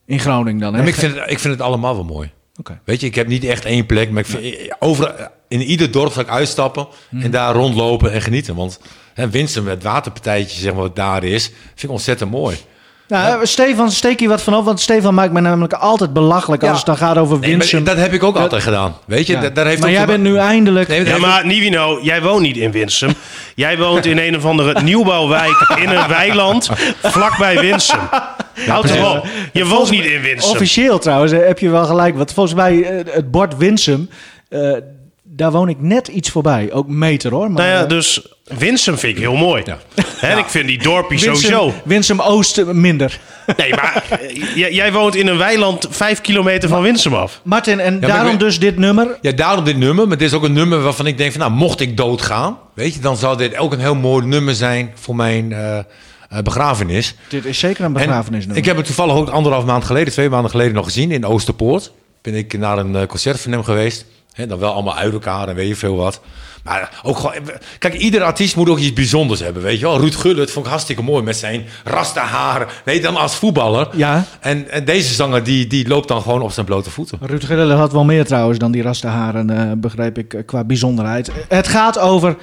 Speaker 2: In Groningen dan, hè?
Speaker 3: En ik vind, het, ik vind het allemaal wel mooi.
Speaker 2: Oké.
Speaker 3: Weet je, ik heb niet echt één plek, maar ik vind, over, in ieder dorp ga ik uitstappen
Speaker 2: Hmm.
Speaker 3: en daar rondlopen en genieten. Want hè, Winsum, het waterpartijtje zeg maar, wat daar is, vind ik ontzettend mooi.
Speaker 2: Nou, eh, Stefan, steek hier wat van op, want Stefan maakt me namelijk altijd belachelijk als
Speaker 3: Ja.
Speaker 2: het dan gaat over
Speaker 3: Nee, maar
Speaker 2: Winsum.
Speaker 3: dat heb ik ook altijd gedaan. Weet je,
Speaker 2: Ja.
Speaker 3: da- daar heeft
Speaker 2: maar
Speaker 3: ook
Speaker 2: jij
Speaker 3: te ma-
Speaker 2: bent nu eindelijk...
Speaker 3: Nee, dat
Speaker 4: Ja,
Speaker 3: heeft-
Speaker 4: maar Nivino, jij woont niet in Winsum. Jij woont in een of andere nieuwbouwwijk in een weiland vlakbij Winsum. Houd
Speaker 3: precies.
Speaker 4: toch op. Je woont niet in Winsum.
Speaker 2: Officieel trouwens eh, heb je wel gelijk, want volgens mij eh, het bord Winsum, eh, daar woon ik net iets voorbij. Ook meter hoor. Maar,
Speaker 4: Nou ja,
Speaker 2: eh,
Speaker 4: dus Winsum vind ik heel mooi.
Speaker 3: Ja.
Speaker 4: Hè, En ik vind die dorpjes
Speaker 2: Winsum,
Speaker 4: sowieso.
Speaker 2: Winsum Oost minder.
Speaker 4: Nee, maar eh, j- jij woont in een weiland vijf kilometer van Winsum af.
Speaker 2: Martin, en
Speaker 3: maar
Speaker 2: daarom
Speaker 3: ik-
Speaker 2: dus dit nummer.
Speaker 3: Ja, daarom dit nummer. Maar dit is ook een nummer waarvan ik denk van... nou, mocht ik doodgaan... weet je, dan zou dit ook een heel mooi nummer zijn... voor mijn eh, eh, begrafenis.
Speaker 2: Dit is zeker een
Speaker 3: En
Speaker 2: begrafenisnummer.
Speaker 3: Ik heb hem toevallig ook anderhalf maand geleden... twee maanden geleden nog gezien in Oosterpoort. Ben ik naar een eh, concert van hem geweest. Hè, dan wel allemaal uit elkaar en weet je veel wat. Maar ook gewoon... eh, Kijk, ieder artiest moet ook iets bijzonders hebben, weet je wel. Ruud Gullit vond ik hartstikke mooi met zijn rasta haar. Nee, dan als voetballer.
Speaker 2: Ja.
Speaker 3: En, en deze zanger, die, die loopt dan gewoon op zijn blote voeten.
Speaker 2: Ruud Gullit had wel meer trouwens dan die rasterharen, eh begreep ik, eh, qua bijzonderheid. Het gaat over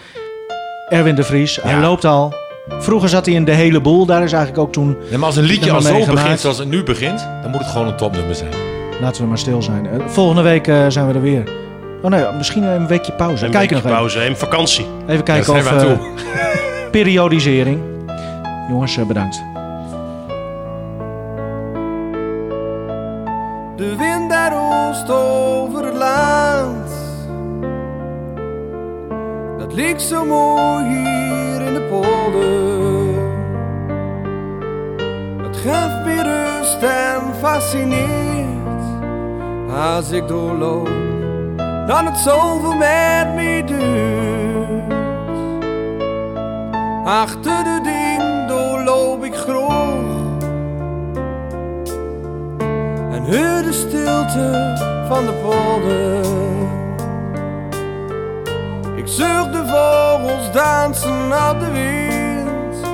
Speaker 2: Erwin de Vries. Hij
Speaker 3: Ja.
Speaker 2: loopt al. Vroeger zat hij in de hele boel. Daar is eigenlijk ook toen...
Speaker 3: Nee, maar als een liedje
Speaker 2: Nummer
Speaker 3: al zo
Speaker 2: meegemaakt.
Speaker 3: begint zoals het nu begint... dan moet het gewoon een topnummer zijn.
Speaker 2: Laten we maar stil zijn. Eh, volgende week eh, zijn we er weer. Oh nee, misschien een weekje pauze.
Speaker 4: Een
Speaker 2: Kijk
Speaker 4: weekje
Speaker 2: nog even.
Speaker 4: pauze, een vakantie.
Speaker 2: Even
Speaker 3: Daar
Speaker 2: kijken
Speaker 3: zijn
Speaker 2: of...
Speaker 3: we aan
Speaker 2: eh,
Speaker 3: toe.
Speaker 2: periodisering. Jongens, eh, bedankt.
Speaker 6: De wind daar roest over het land. Dat ligt zo mooi hier in de polder. Het geeft weer rust en fascineert. Als ik doorloop, dan het zoveel met me duurt. Achter de ding doorloop ik groot en heur de stilte van de polder. Ik zucht de vogels dansen op de wind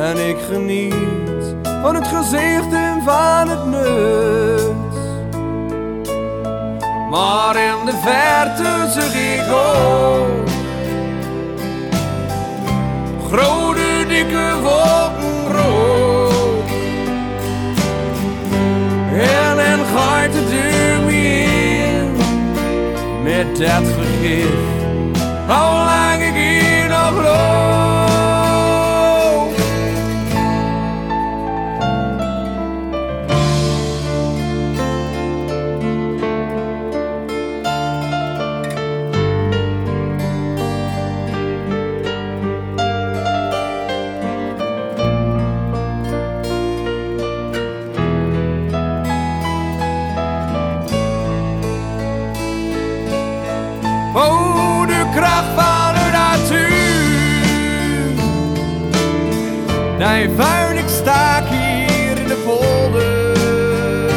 Speaker 6: en ik geniet van het gezicht en van het nut. Maar in de verte zeg ik ook grote dikke wolken rood. En en gaat de deur weer in met dat vergif. Hoe lang ik hier nog loop. Oh, de kracht van de natuur. Nee, vuil, ik sta hier in de polder.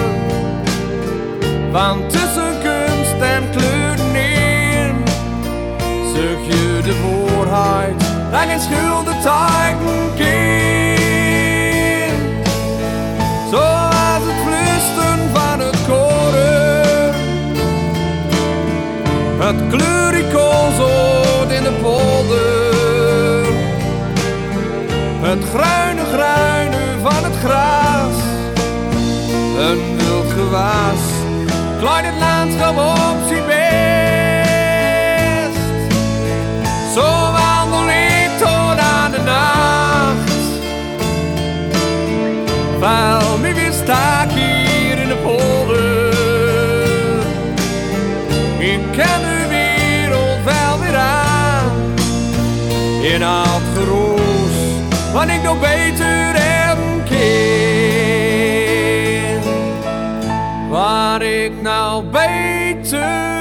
Speaker 6: Want tussen kunst en kleuren in, zoek je de voorheid. En geen schulden tijden keer. Zoals het flusten van het koren. Het kleurikoolzoot in de polder. Het gruine gruine van het gras. Een wild gewaas. Klein het landschap op zijn best. Zo wandel ik tot aan de nacht. Vuil me weer staak hier in de polder. Ik ken de wereld wel weer aan. In oud geroes, wat ik nog beter hem ken. Waar ik nou beter